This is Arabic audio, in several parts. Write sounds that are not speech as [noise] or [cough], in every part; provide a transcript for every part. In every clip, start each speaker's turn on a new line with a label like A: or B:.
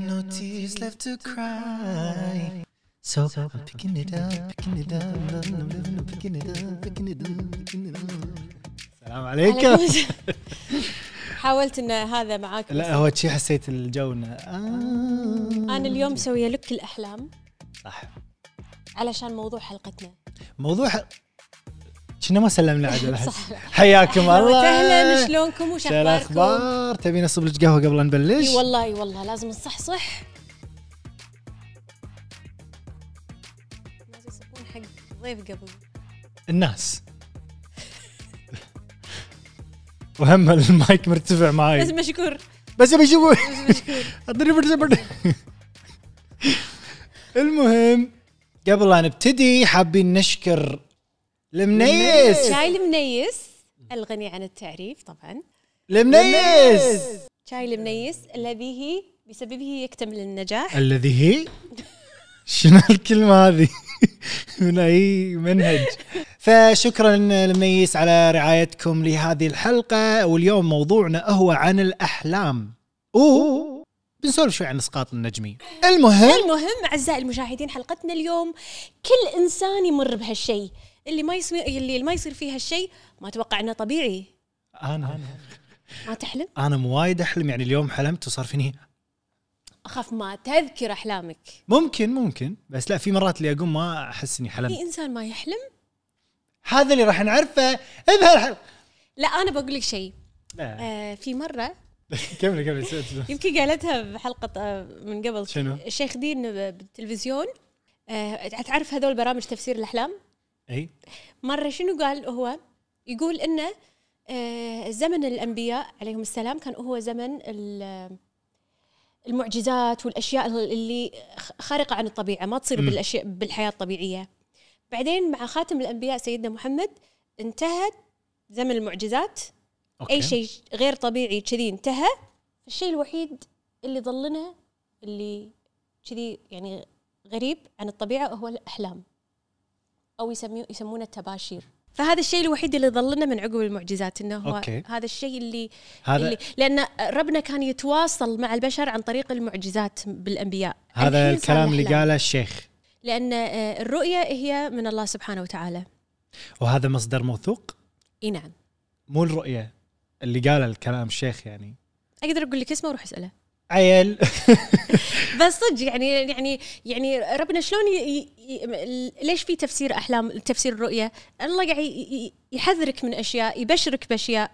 A: tears left to cry. So I'm picking it up, picking it up, I'm living, I'm picking it up, picking it up, picking it up. السلام عليكم
B: [laughs] حاولت ان هذا معاك بس.
A: لا هو شي حسيت الجو إنه آه.
B: انا اليوم مسويه لك الاحلام
A: صح
B: علشان موضوع حلقتنا
A: موضوع كنا ما سلمنا عدل أحس.
B: صح
A: حياكم
B: أهلا
A: الله
B: وسهلا شلونكم وش
A: شو
B: اخباركم؟
A: الاخبار تبين اصب لك قهوه قبل نبلش
B: اي والله اي والله لازم نصحصح لازم يصفون حق ضيف قبل
A: إيه. الناس وهم المايك مرتفع
B: بس
A: معي
B: مشكور
A: بس يبي يشوفوا
B: بس مشكور
A: أدري برد- برد. المهم قبل لا نبتدي حابين نشكر المنيس
B: شاي المنيس الغني عن التعريف طبعا
A: المنيس
B: شاي المنيس الذي هي بسببه يكتمل النجاح
A: الذي هي شنو الكلمة هذه؟ [laughs] من أي منهج؟ فشكرا المنيس على رعايتكم لهذه الحلقة واليوم موضوعنا هو عن الأحلام أوه بنسولف شوي عن الإسقاط النجمي المهم
B: المهم اعزائي المشاهدين حلقتنا اليوم كل انسان يمر بهالشيء اللي ما يصير اللي ما يصير فيه هالشيء ما اتوقع انه طبيعي
A: أنا
B: ما تحلم
A: أنا مو وايد أحلم يعني اليوم حلمت وصار فيني
B: اخاف ما تذكر احلامك
A: ممكن ممكن بس لا في مرات اللي أقوم ما أحس إني
B: في
A: حلمت
B: انسان ما يحلم
A: هذا اللي راح نعرفه بهالحلقة
B: لا انا بقول لك شيء
A: لا
B: آه في مره
A: [laughs] كملي كملي
B: يمكن قالتها بحلقه آه من قبل
A: شنو؟
B: الشيخ دين ب- بالتلفزيون آه تعرف هذول برامج تفسير الاحلام
A: أي
B: مره شنو قال هو يقول انه آه زمن الانبياء عليهم السلام كان هو زمن ال- المعجزات والاشياء اللي خ- خارقه عن الطبيعه ما تصير
A: مم.
B: بالاشياء بالحياه الطبيعيه بعدين مع خاتم الانبياء سيدنا محمد انتهت زمن المعجزات
A: أوكي.
B: اي شيء غير طبيعي كذي انتهى الشيء الوحيد اللي ظل لنا اللي كذي يعني غريب عن الطبيعه هو الاحلام او يسميه يسمونه التباشير فهذا الشيء الوحيد اللي ظل لنا من عقب المعجزات انه هو
A: أوكي.
B: هذا الشيء اللي,
A: هذا
B: اللي لان ربنا كان يتواصل مع البشر عن طريق المعجزات بالانبياء
A: هذا
B: الحين صار
A: الكلام اللي
B: الأحلام.
A: قاله الشيخ
B: لان آه، الرؤيه هي من الله سبحانه وتعالى
A: وهذا مصدر موثوق
B: اي نعم
A: مو الرؤية اللي قاله الكلام الشيخ يعني
B: اقدر اقول لك اسمه وروح اساله
A: عيل [laughs]
B: بس صدق يعني يعني يعني ربنا شلون ي... ي... ي- ليش في تفسير احلام تفسير الرؤيه؟ الله قاعد ي- ي- يحذرك من اشياء يبشرك باشياء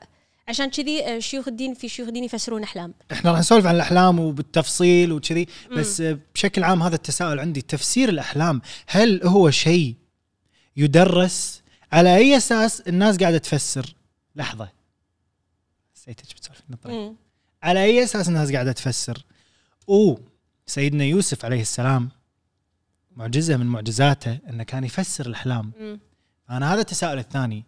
B: عشان كذي آه، شيوخ الدين في شيوخ الدين يفسرون احلام
A: احنا راح نسولف عن الاحلام وبالتفصيل وكذي بس آه، بشكل عام هذا التساؤل عندي تفسير الاحلام هل هو شيء يدرس على اي اساس الناس قاعده تفسر لحظه حسيتك بتسولف نظري
B: مم.
A: على اي اساس الناس قاعده تفسر؟ او سيدنا يوسف عليه السلام معجزه من معجزاته انه كان يفسر الاحلام.
B: مم.
A: انا هذا التساؤل الثاني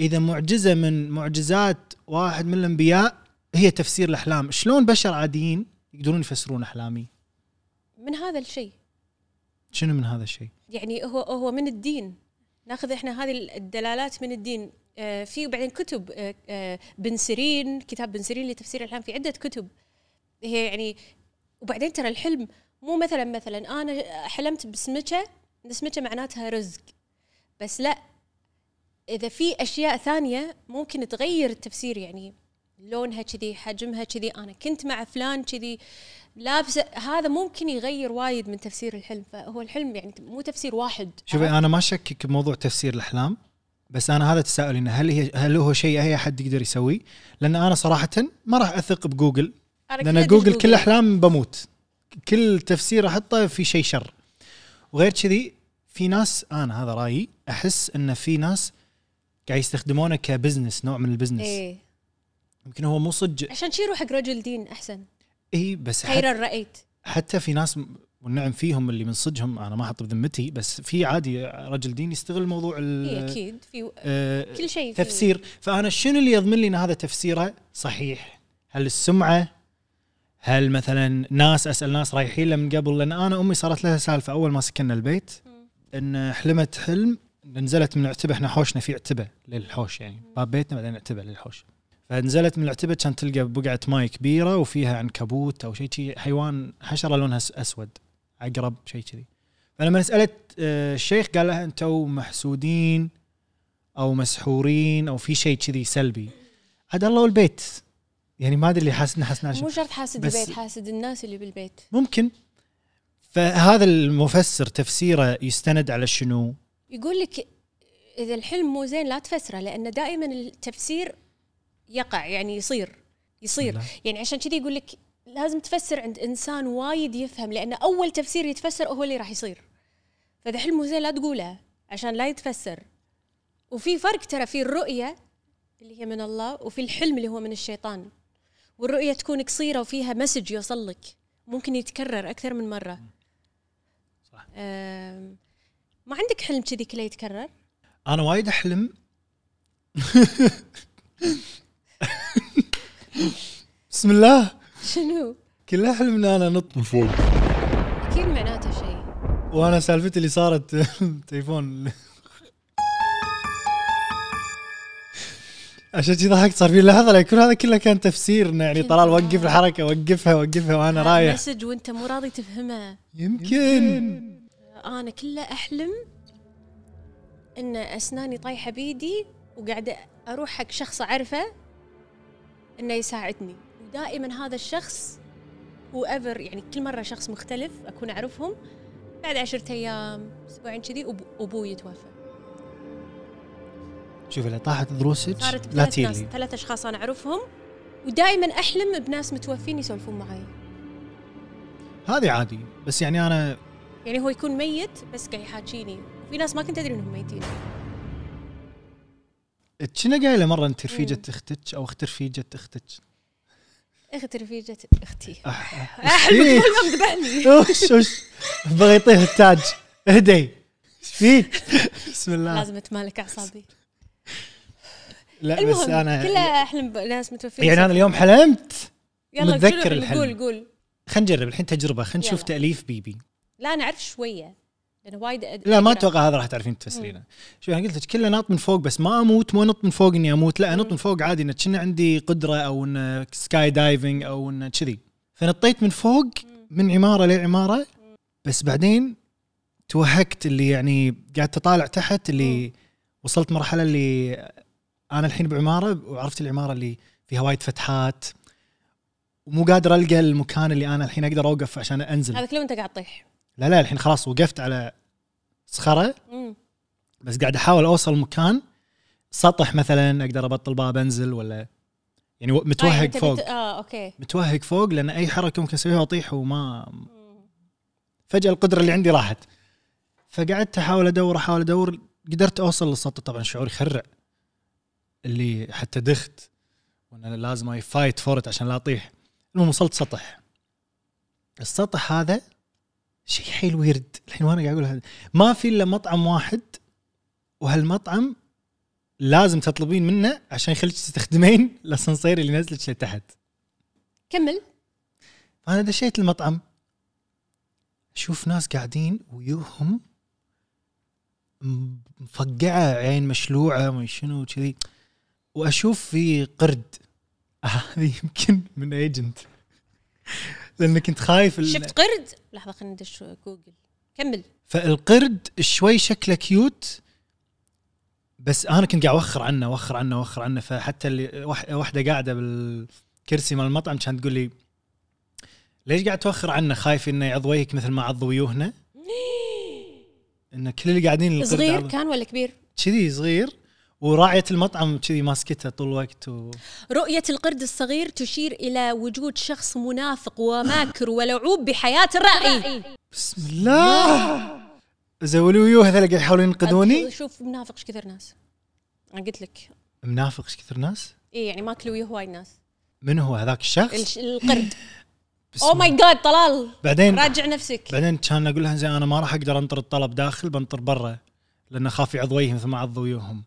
A: اذا معجزه من معجزات واحد من الانبياء هي تفسير الاحلام، شلون بشر عاديين يقدرون يفسرون احلامي؟
B: من هذا الشيء
A: شنو من هذا الشيء؟
B: يعني هو هو من الدين ناخذ احنا هذه الدلالات من الدين آه، في وبعدين كتب آه، آه، بن سيرين كتاب بن سيرين لتفسير الاحلام في عده كتب هي يعني وبعدين ترى الحلم مو مثلا مثلا انا حلمت بسمكه السمكه معناتها رزق بس لا اذا في اشياء ثانيه ممكن تغير التفسير يعني لونها كذي حجمها كذي انا كنت مع فلان كذي لابسه هذا ممكن يغير وايد من تفسير الحلم فهو الحلم يعني مو تفسير واحد
A: شوفي انا ما اشكك بموضوع تفسير الاحلام بس انا هذا تساؤلي انه هل هي هل هو شيء اي احد يقدر يسويه؟ لان انا صراحه ما راح اثق بجوجل لان
B: كلها
A: جوجل
B: دش
A: كل احلام بموت كل تفسير احطه في شيء شر وغير كذي في ناس انا هذا رايي احس ان في ناس قاعد يستخدمونه كبزنس نوع من البزنس
B: ايه
A: يمكن هو مو صدق
B: عشان شي روح حق رجل دين احسن
A: اي بس حت
B: خيرا رايت
A: حتى في ناس م- والنعم فيهم اللي من صدقهم انا ما احط بذمتي بس في عادي رجل دين يستغل موضوع
B: اي
A: ال
B: اكيد إيه، في
A: آه،
B: كل شيء في-
A: تفسير فانا شنو اللي يضمن لي ان هذا تفسيره صحيح هل السمعه هل مثلا ناس اسال ناس رايحين له من قبل لان انا امي صارت لها سالفه اول ما سكننا البيت ان حلمت حلم إن نزلت من عتبه احنا حوشنا في عتبه للحوش يعني باب بيتنا بعدين عتبه للحوش فنزلت من العتبه كان تلقى بقعه ماي كبيره وفيها عنكبوت او شيء شي حيوان حشره لونها أس- اسود عقرب شيء كذي فلما سالت آه، الشيخ قال لها انتم محسودين او مسحورين او في شيء كذي سلبي عاد الله والبيت يعني ما ادري اللي حاسنا حاسنا
B: مو شرط حاسد
A: بس-
B: البيت حاسد الناس اللي بالبيت
A: ممكن فهذا المفسر تفسيره يستند على شنو؟
B: يقول لك اذا الحلم مو زين لا تفسره لان دائما التفسير يقع يعني يصير يصير
A: لا.
B: يعني عشان كذي يقول لك لازم تفسر عند انسان وايد يفهم لان اول تفسير يتفسر هو اللي راح يصير فاذا حلم مو زين لا تقوله عشان لا يتفسر وفي فرق ترى في الرؤيه اللي هي من الله وفي الحلم اللي هو من الشيطان والرؤيه تكون قصيره وفيها مسج يوصل لك ممكن يتكرر اكثر من مره
A: صح.
B: أم، ما عندك حلم كذي كله يتكرر [laughs]
A: انا وايد احلم بسم الله
B: شنو
A: كله احلم ان انا نط من فوق
B: اكيد معناته شيء
A: وانا سالفتي اللي صارت [laughs] تليفون عشان كذي ضحكت صار في لحظه لان كل هذا كله كان تفسير انه يعني طلال وقف الحركه وقفها وقفها
B: آه،
A: وانا رايح
B: مسج وانت مو راضي تفهمه
A: يمكن
B: انا كله احلم ان اسناني طايحه بيدي وقاعده اروح حق شخص اعرفه انه يساعدني ودائما هذا الشخص هو ايفر يعني كل مره شخص مختلف اكون اعرفهم بعد عشرة ايام اسبوعين كذي أب- ابوي يتوفى
A: شوف اللي طاحت دروسك
B: صارت
A: لا
B: بثلاث ناس
A: تيلي
B: ثلاث اشخاص انا اعرفهم ودائما احلم بناس متوفين يسولفون معي
A: هذه عادي بس يعني انا
B: يعني هو يكون ميت بس قاعد يحاكيني في ناس ما كنت ادري انهم ميتين
A: كنا قايله مره انت رفيجه اختك او اخت رفيجه اختك
B: اخت رفيجه اختي
A: أح-
B: احلم
A: إيه.
B: كل ما اذبحني
A: وش وش بغى يطيح التاج اهدي ايش فيك؟ بسم الله
B: لازم اتمالك اعصابي
A: لا
B: المهم
A: بس انا
B: كلها احلم بناس متوفين
A: يعني انا اليوم حلمت
B: يلا
A: متذكر
B: شنو-
A: الحلم.
B: قول قول
A: خلينا نجرب الحين تجربه خلينا نشوف
B: يلا.
A: تاليف بيبي
B: لا انا اعرف شويه لان وايد أد...
A: لا ما
B: أقرأ.
A: اتوقع هذا راح تعرفين تفسرينه شوف انا قلت لك كله ناط من فوق بس ما اموت مو نط من فوق اني اموت لا انط من فوق عادي انه كنا عندي قدره او انه سكاي دايفنج او انه كذي فنطيت من فوق من عماره لعماره بس بعدين توهكت اللي يعني قعدت اطالع تحت اللي وصلت مرحله اللي انا الحين بعماره وعرفت العماره اللي فيها وايد فتحات ومو قادر القى المكان اللي انا الحين اقدر اوقف عشان انزل
B: هذا كله وانت قاعد تطيح
A: لا لا الحين خلاص وقفت على صخره
B: مم.
A: بس قاعد احاول اوصل مكان سطح مثلا اقدر ابطل باب انزل ولا يعني و-
B: آه،
A: متوهق
B: أنت بت-
A: فوق
B: اه اوكي
A: متوهق فوق لان اي حركه ممكن اسويها اطيح وما
B: مم.
A: فجاه القدره اللي عندي راحت فقعدت احاول ادور احاول ادور قدرت اوصل للسطح طبعا شعور يخرع اللي حتى دخت وانا لازم اي فايت فورت عشان لا اطيح المهم وصلت سطح السطح هذا شيء حيل ويرد الحين وانا قاعد اقول هذا ما في الا مطعم واحد وهالمطعم لازم تطلبين منه عشان يخليك تستخدمين [laughs] الاسانسير اللي نزلك لتحت
B: كمل
A: فانا دشيت المطعم اشوف ناس قاعدين ويوهم م- مفقعه عين مشلوعه ما شنو كذي واشوف في قرد [laughs] هذه يمكن من ايجنت لان كنت خايف ال-
B: شفت قرد لحظه خلينا ندش جوجل كمل
A: فالقرد شوي شكله كيوت بس انا كنت قاعد اوخر عنه اوخر عنه اوخر عنه فحتى اللي وح- واحده قاعده بالكرسي مال المطعم كانت تقول لي ليش قاعد توخر عنه خايف انه يعض وجهك مثل ما عض
B: [gasps]
A: ويوهنا انه كل اللي قاعدين القرد
B: صغير
A: عض-
B: كان ولا كبير
A: كذي صغير وراعيه المطعم كذي ماسكته طول الوقت و...
B: رؤية القرد الصغير تشير إلى وجود شخص
A: [laughs]
B: منافق وماكر ولعوب بحياة الرأي
A: بسم
B: [laughs]
A: الله زولوا ويوه هذول قاعد يحاولون ينقذوني
B: شوف منافق ايش كثر ناس أنا قلت لك
A: منافق ايش كثر ناس
B: إيه يعني ماكل وياه هواي
A: [laughs]
B: ناس
A: من هو هذاك الشخص؟
B: الش- القرد
A: بسم
B: أو ماي جاد Oh طلال
A: بعدين
B: راجع نفسك
A: بعدين كان اقول لها زين انا ما راح اقدر انطر الطلب داخل بنطر برا لان اخاف يعض وجهي مثل ما عض ويوهم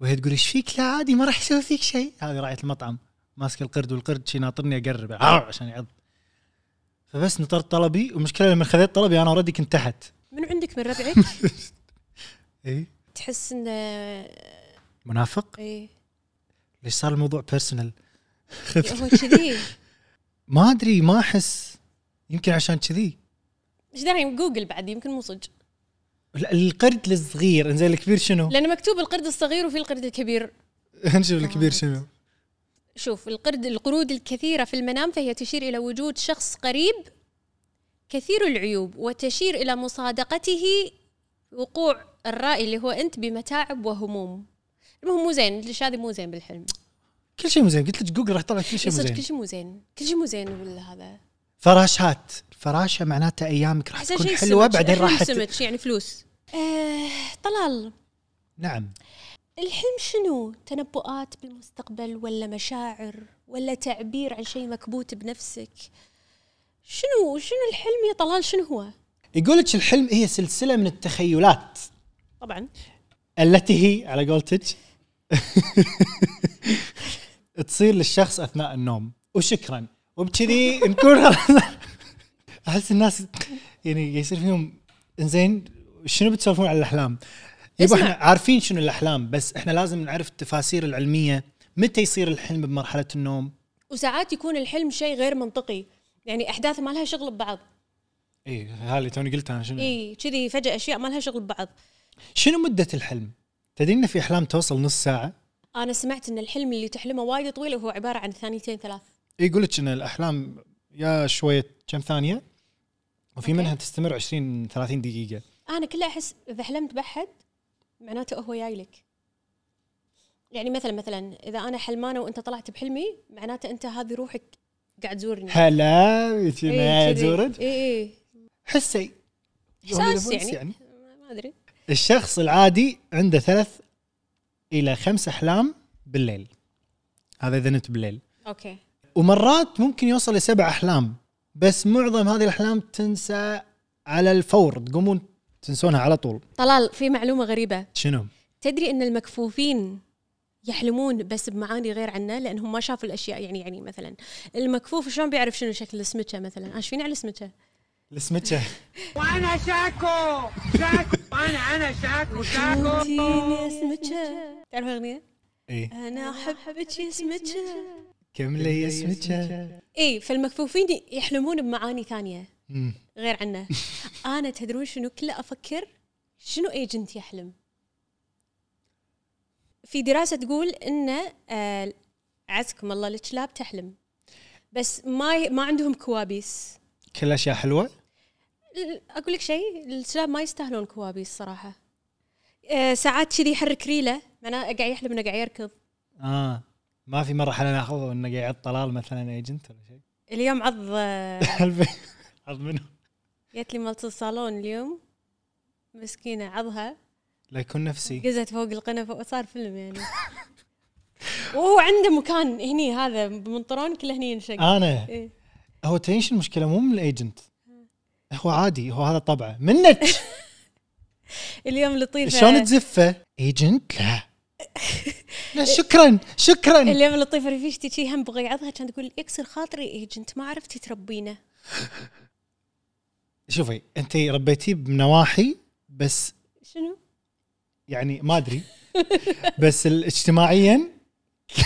A: وهي تقول ايش فيك لا عادي ما راح يسوي فيك شيء هذه راعيه المطعم ماسك القرد والقرد شي ناطرني اقرب عرر عشان يعض فبس نطرت طلبي والمشكله لما خذيت طلبي انا اوريدي كنت تحت
B: من عندك من ربعك
A: اي
B: تحس إنه
A: منافق
B: إيه
A: ليش صار الموضوع بيرسونال
B: هو
A: [laughs]
B: كذي
A: ما ادري ما احس يمكن عشان كذي
B: ايش داري جوجل بعد يمكن مو صدق
A: ال- القرد الصغير انزين الكبير شنو؟
B: لانه مكتوب القرد الصغير وفي القرد الكبير
A: [laughs] نشوف الكبير شنو؟
B: شوف القرد القرود الكثيرة في المنام فهي تشير إلى وجود شخص قريب كثير العيوب وتشير إلى مصادقته وقوع الرأي اللي هو أنت بمتاعب وهموم المهم مو زين الدش هذه مو زين بالحلم
A: كل شيء مو زين قلت لك جوجل راح يطلع كل شيء مو
B: صدق كل
A: زين
B: شيء مو زين كل شيء مو زين ولا هذا
A: فراشات فراشه معناتها ايامك راح
B: أحسن
A: تكون
B: شيء
A: حلوه
B: سمك.
A: بعدين
B: الحلم
A: راح ت-
B: سمك يعني فلوس آه طلال
A: نعم
B: الحلم شنو تنبؤات بالمستقبل ولا مشاعر ولا تعبير عن شيء مكبوت بنفسك شنو شنو الحلم يا طلال شنو هو
A: يقول لك الحلم هي سلسله من التخيلات
B: طبعا
A: التي هي على قولتك [laughs] تصير للشخص اثناء النوم وشكرا وبكذي نكون [laughs] احس الناس يعني يصير فيهم انزين شنو بتسولفون على الاحلام؟ يبا
B: اسمع.
A: احنا عارفين شنو الاحلام بس احنا لازم نعرف التفاسير العلميه متى يصير الحلم بمرحله النوم؟
B: وساعات يكون الحلم شيء غير منطقي يعني احداث ما لها شغل ببعض
A: اي هذا اللي إيه، توني قلتها أنا شنو
B: اي كذي فجاه اشياء ما لها شغل ببعض
A: شنو مده الحلم؟ تدري ان في احلام توصل نص ساعه؟
B: انا سمعت ان الحلم اللي تحلمه وايد طويل وهو عباره عن ثانيتين ثلاث
A: يقول لك ان الاحلام يا شويه كم ثانيه وفي
B: أوكي.
A: منها تستمر 20 30 دقيقه
B: انا كله احس اذا حلمت بحد معناته هو جاي لك يعني مثلا مثلا اذا انا حلمانه وانت طلعت بحلمي معناته انت هذه روحك قاعد تزورني
A: هلا
B: إيه،
A: جماعة زورد
B: اي اي
A: حسي
B: احساس يعني, يعني ما ادري
A: الشخص العادي عنده ثلاث الى خمس احلام بالليل هذا اذا نمت بالليل
B: اوكي
A: ومرات ممكن يوصل لسبع احلام بس معظم هذه الاحلام تنسى على الفور تقومون تنسونها على طول
B: طلال في معلومه غريبه
A: شنو؟
B: تدري ان المكفوفين يحلمون بس بمعاني غير عنا لانهم ما شافوا الاشياء يعني يعني مثلا المكفوف شلون بيعرف شنو شكل السمكه مثلا انا إيش فيني على السمكه
A: السمكه
C: وانا شاكو شاكو انا انا شاكو شاكو
B: تيني سمكه تعرف الاغنيه
A: اي
B: انا احبك يا سمكه
A: إيه. آه، كم لي سمكه
B: اي فالمكفوفين يحلمون بمعاني ثانيه
A: أمم.
B: غير عنا انا تدرون شنو كله افكر شنو ايجنت يحلم في دراسه تقول ان آه، عزكم الله الكلاب تحلم بس ما ي- ما عندهم كوابيس
A: كل اشياء حلوه
B: ال- اقول لك شيء الكلاب ما يستاهلون كوابيس صراحه آه، ساعات كذي يحرك ريله معناه قاعد يحلم انه قاعد يركض
A: اه ما في مره حلا ناخذه انه قاعد طلال مثلا ايجنت ولا [laughs] شيء
B: اليوم عض آه،
A: حلبي عض منه
B: جت لي مالت الصالون اليوم مسكينه عضها
A: لا يكون نفسي
B: قزت فوق القنفة وصار فيلم يعني [laughs] وهو عنده مكان هني هذا بمنطرون كله هني ينشق
A: انا
B: إيه.
A: هو تدري شو المشكله مو من الايجنت هو عادي هو هذا طبعه منك
B: اليوم لطيفة
A: شلون تزفه ايجنت لا لا شكرا شكرا
B: اليوم لطيفة رفيجتي شي هم بغى يعضها كانت تقول يكسر خاطري ايجنت ما عرفتي تربينه
A: شوفي انت ربيتيه بنواحي بس
B: شنو؟
A: يعني ما ادري بس ال- اجتماعيا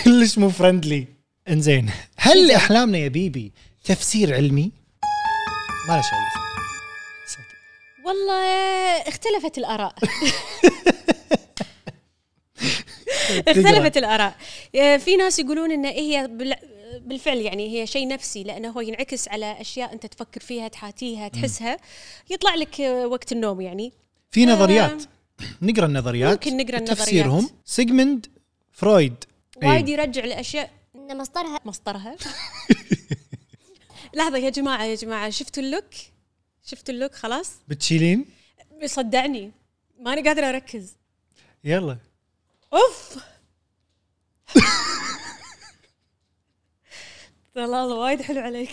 A: كلش مو فرندلي انزين هل احلامنا يا بيبي تفسير علمي؟ ما له شغل نسيت.
B: والله اختلفت الاراء اختلفت الاراء آه، في ناس يقولون ان هي بال- بالفعل يعني هي شيء نفسي لانه هو ينعكس على اشياء انت تفكر فيها تحاتيها تحسها يطلع لك آه، وقت النوم يعني
A: في نظريات نقرا النظريات
B: ممكن نقرا النظريات.
A: تفسيرهم سيجموند فرويد
B: وايد
A: إيه.
B: يرجع لاشياء
D: ان مصدرها
B: مصدرها [laughs] لحظه يا جماعه يا جماعه شفتوا اللوك شفتوا اللوك خلاص
A: بتشيلين
B: صدعني ماني قادره اركز
A: يلا
B: [laughs] اوف طلال وايد حلو عليك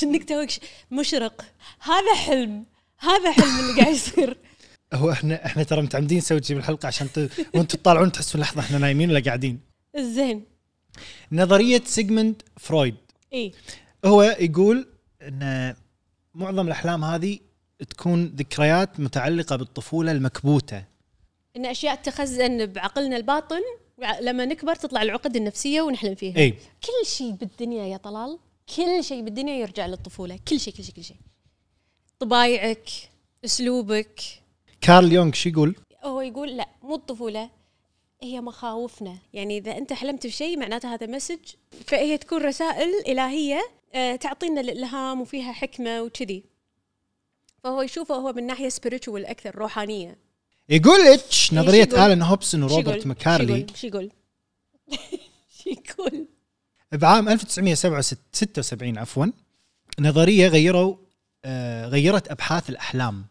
B: كأنك توك ش- مشرق هذا حلم هذا حلم اللي قاعد يصير [laughs]
A: هو احنا احنا ترى متعمدين نسوي شيء بالحلقه عشان ت... وانتم تطالعون تحسون لحظه احنا نايمين ولا قاعدين
B: زين
A: نظريه سيجموند فرويد
B: اي
A: هو يقول ان معظم الاحلام هذه تكون ذكريات متعلقه بالطفوله المكبوته
B: ان اشياء تخزن بعقلنا الباطن لما نكبر تطلع العقد النفسيه ونحلم فيها
A: اي
B: كل شيء بالدنيا يا طلال كل شيء بالدنيا يرجع للطفوله كل شيء كل شيء كل شيء طبايعك اسلوبك
A: كارل يونغ شو يقول؟
B: هو يقول لا مو الطفوله هي مخاوفنا يعني اذا انت حلمت بشيء معناته هذا مسج فهي تكون رسائل الهيه آه، تعطينا الالهام وفيها حكمه وكذي فهو يشوفه هو من ناحيه سبيريتشوال اكثر روحانيه
A: يقول اتش نظريه
B: يقول؟
A: الان هوبسون
B: شو يقول؟
A: وروبرت
B: شو
A: مكارلي
B: يقول؟ شو يقول؟ [laughs] شو يقول؟
A: بعام 1976 عفوا نظريه غيروا آه، غيرت ابحاث الاحلام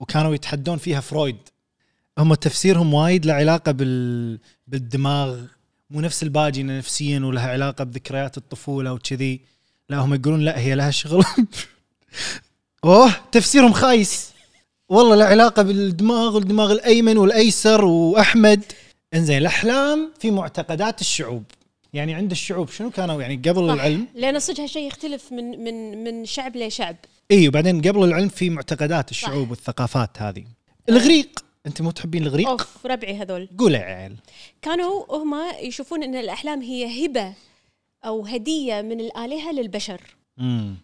A: وكانوا يتحدون فيها فرويد هم تفسيرهم وايد له علاقه بال بالدماغ مو نفس الباجي إنه نفسيا ولها علاقه بذكريات الطفوله وكذي لا هم يقولون لا هي لها شغل [laughs] اوه تفسيرهم خايس والله له علاقه بالدماغ والدماغ الايمن والايسر واحمد انزين الاحلام في معتقدات الشعوب يعني عند الشعوب شنو كانوا يعني قبل
B: صح.
A: العلم
B: لان صدق هالشيء يختلف من من من شعب لشعب
A: اي إيه، وبعدين قبل العلم في معتقدات الشعوب والثقافات هذه الغريق انت مو تحبين الغريق
B: اوف ربعي هذول
A: قول يا عيال
B: كانوا هم يشوفون ان الاحلام هي هبه او هديه من الالهه للبشر
A: امم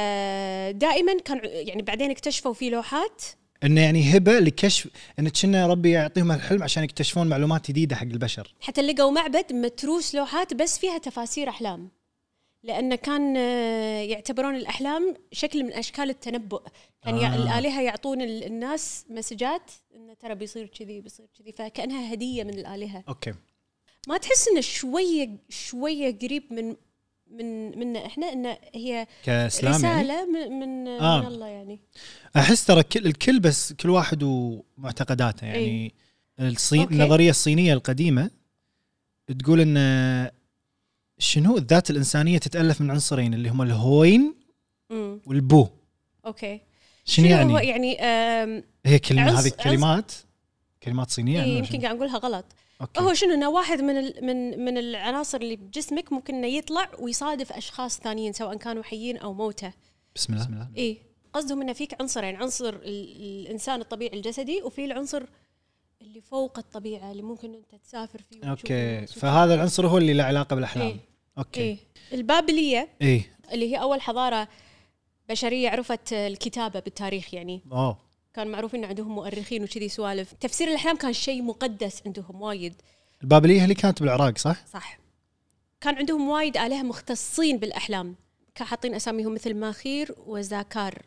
B: فدائما كان يعني بعدين اكتشفوا في لوحات
A: انه يعني هبه لكشف ان كنا ربي يعطيهم الحلم عشان يكتشفون معلومات جديده حق البشر
B: حتى لقوا معبد متروس لوحات بس فيها تفاسير احلام لانه كان آه، يعتبرون الاحلام شكل من اشكال التنبؤ كان آه.
A: آه.
B: الالهه يعطون ال- الناس مسجات انه ترى بيصير كذي بيصير كذي فكانها هديه من الالهه
A: اوكي
B: ما تحس انه شويه شويه قريب من من منا احنا انه هي
A: كاسلام يعني
B: رساله من من, آه.
A: آه.
B: من الله يعني
A: احس ترى كل الكل بس كل واحد ومعتقداته يعني الصين
B: إيه. أوكي.
A: النظريه الصينيه القديمه تقول ان شنو الذات الانسانيه تتالف من عنصرين اللي هم الهوين
B: امم
A: والبو
B: اوكي
A: شنو
B: هو
A: يعني؟
B: يعني آم،
A: هي كلمه
B: عنص-
A: هذه كلمات كلمات صينيه
B: إيه،
A: ولا
B: يمكن
A: شنو؟ يعني
B: قاعد اقولها غلط
A: أوكي.
B: هو شنو انه واحد من ال- من من العناصر اللي بجسمك ممكن انه يطلع ويصادف اشخاص ثانيين سواء كانوا حيين او موتى
A: بسم الله بسم الله
B: اي قصدهم انه فيك عنصرين عنصر ال- الانسان الطبيعي الجسدي وفي العنصر اللي فوق الطبيعه اللي ممكن انت تسافر فيه وتشوف
A: اوكي
B: الناس وت-
A: فهذا العنصر هو اللي له علاقه بالاحلام
B: إيه.
A: اوكي
B: إيه. البابليه
A: اي
B: اللي هي اول حضاره بشريه عرفت الكتابه بالتاريخ يعني
A: اوه
B: كان معروف ان عندهم مؤرخين وكذي سوالف تفسير الاحلام كان شيء مقدس عندهم وايد
A: البابليه اللي كانت بالعراق صح؟
B: صح كان عندهم وايد آلهة مختصين بالأحلام كان حاطين أساميهم مثل ماخير وزاكار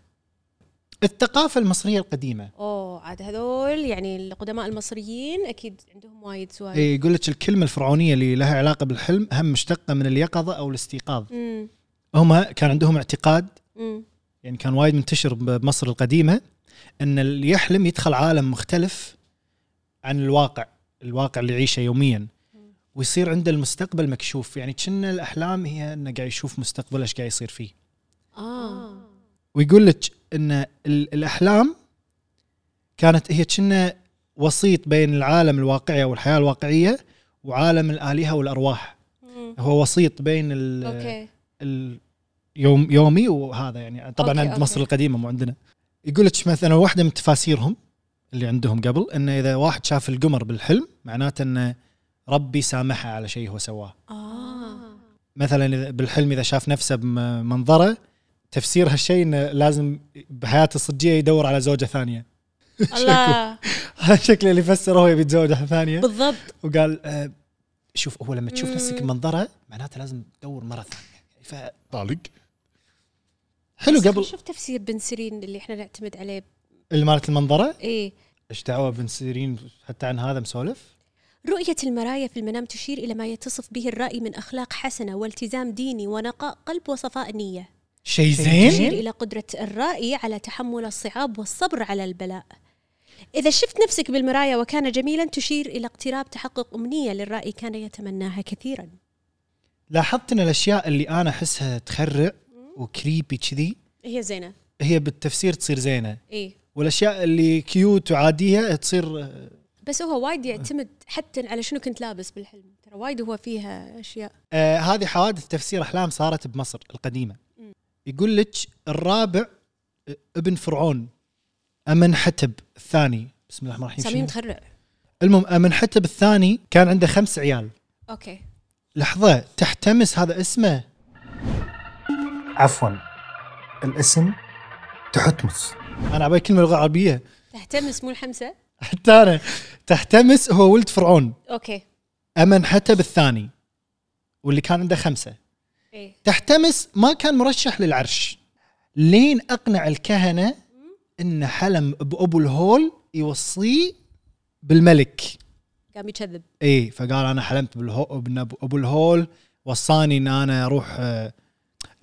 A: الثقافه المصريه القديمه
B: أوه عاد هذول يعني القدماء المصريين أكيد عندهم وايد سوالف
A: إيه، يقول لك الكلمه الفرعونيه اللي لها علاقه بالحلم هم مشتقه من اليقظه او الاستيقاظ
B: امم
A: هم كان عندهم اعتقاد
B: امم
A: يعني كان وايد منتشر بمصر القديمه ان اللي يحلم يدخل عالم مختلف عن الواقع الواقع اللي يعيشه يوميا ويصير عنده المستقبل مكشوف يعني كنا الاحلام هي انه قاعد يشوف مستقبله ايش قاعد يصير فيه
B: آه
A: ويقول لك ان ال- الاحلام كانت هي كنا وسيط بين العالم الواقعي او الحياه الواقعيه وعالم الالهه والارواح
B: مم.
A: هو وسيط بين ال
B: أوكي
A: ال- يوم يومي وهذا يعني طبعا
B: أوكي،
A: عند
B: أوكي.
A: مصر القديمه مو عندنا يقول لك مثلا واحده من تفاسيرهم اللي عندهم قبل انه اذا واحد شاف القمر بالحلم معناته انه ربي سامحه على شيء هو سواه
B: آه
A: مثلا إذا- بالحلم اذا شاف نفسه بمنظره تفسير هالشيء انه لازم بحياته الصجيه يدور على زوجه ثانيه
B: الله
A: [laughs] هذا شكله اللي فسره هو يبي يتزوج واحده ثانيه
B: بالضبط
A: وقال آه، شوف هو لما تشوف نفسك
B: مم.
A: بمنظره معناته لازم تدور مره ثانيه فطالق حلو قبل
B: شوف تفسير بن سيرين اللي احنا نعتمد عليه
A: اللي مالت المنظره
B: إيه
A: ايش دعوه بن سيرين حتى عن هذا مسولف
B: رؤية المرايا في المنام تشير إلى ما يتصف به الرأي من أخلاق حسنة والتزام ديني ونقاء قلب وصفاء نية
A: شيء
B: تشير
A: زين
B: إلى قدرة الرائي على تحمل الصعاب والصبر على البلاء إذا شفت نفسك بالمرايا وكان جميلا تشير إلى اقتراب تحقق أمنية للرائي كان يتمناها كثيرا
A: لاحظت ان الاشياء اللي انا احسها تخرع وكريبي كذي
B: هي زينة
A: هي بالتفسير تصير زينه
B: إيه
A: والاشياء اللي كيوت وعاديه تصير
B: بس هو وايد يعتمد حتى على شنو كنت لابس بالحلم ترى وايد هو فيها أشياء
A: آه هذه حوادث تفسير احلام صارت بمصر القديمه يقول لك الرابع ابن فرعون امنحتب الثاني بسم الله الرحمن الرحيم
B: ساميهم
A: شنو؟
B: تخرع
A: المهم امنحتب الثاني كان عنده خمس عيال
B: اوكي
A: لحظة تحتمس هذا اسمه عفوا الاسم تحتمس انا عبالي كلمة لغة عربية [laughs]
B: تهتمس مو الحمسه
A: حتى انا تحتمس هو ولد فرعون
B: اوكي
A: امنحتب الثاني واللي كان عنده خمسة
B: ايه
A: تحتمس ما كان مرشح للعرش لين اقنع الكهنه ان حلم بابو الهول يوصيه بالملك
B: قام يكذب
A: اي فقال انا حلمت بالهو... بان أبو- ابو الهول وصاني ان انا اروح آه،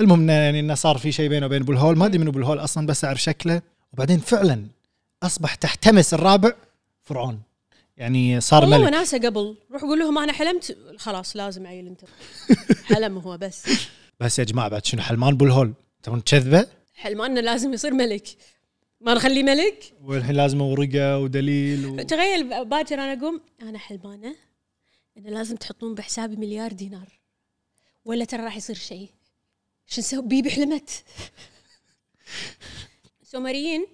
A: المهم انه يعني انه صار في شيء بينه وبين ابو الهول ما ادري من ابو الهول اصلا بس اعرف شكله وبعدين فعلا اصبح تحتمس الرابع فرعون يعني صار
B: والله
A: ملك
B: وناسه قبل روح قول لهم انا حلمت خلاص لازم عيل
A: [laughs]
B: انت حلم هو بس
A: بس يا جماعه بعد شنو حلمان ابو الهول تبون كذبه
B: حلماننا لازم يصير ملك ما نخليه ملك
A: والحين لازم ورقه ودليل و...
B: تخيل ب- باكر انا اقوم انا حلمانه انه لازم تحطون بحسابي مليار دينار ولا ترى راح يصير شيء شو نسوي بيبي حلمت السومريين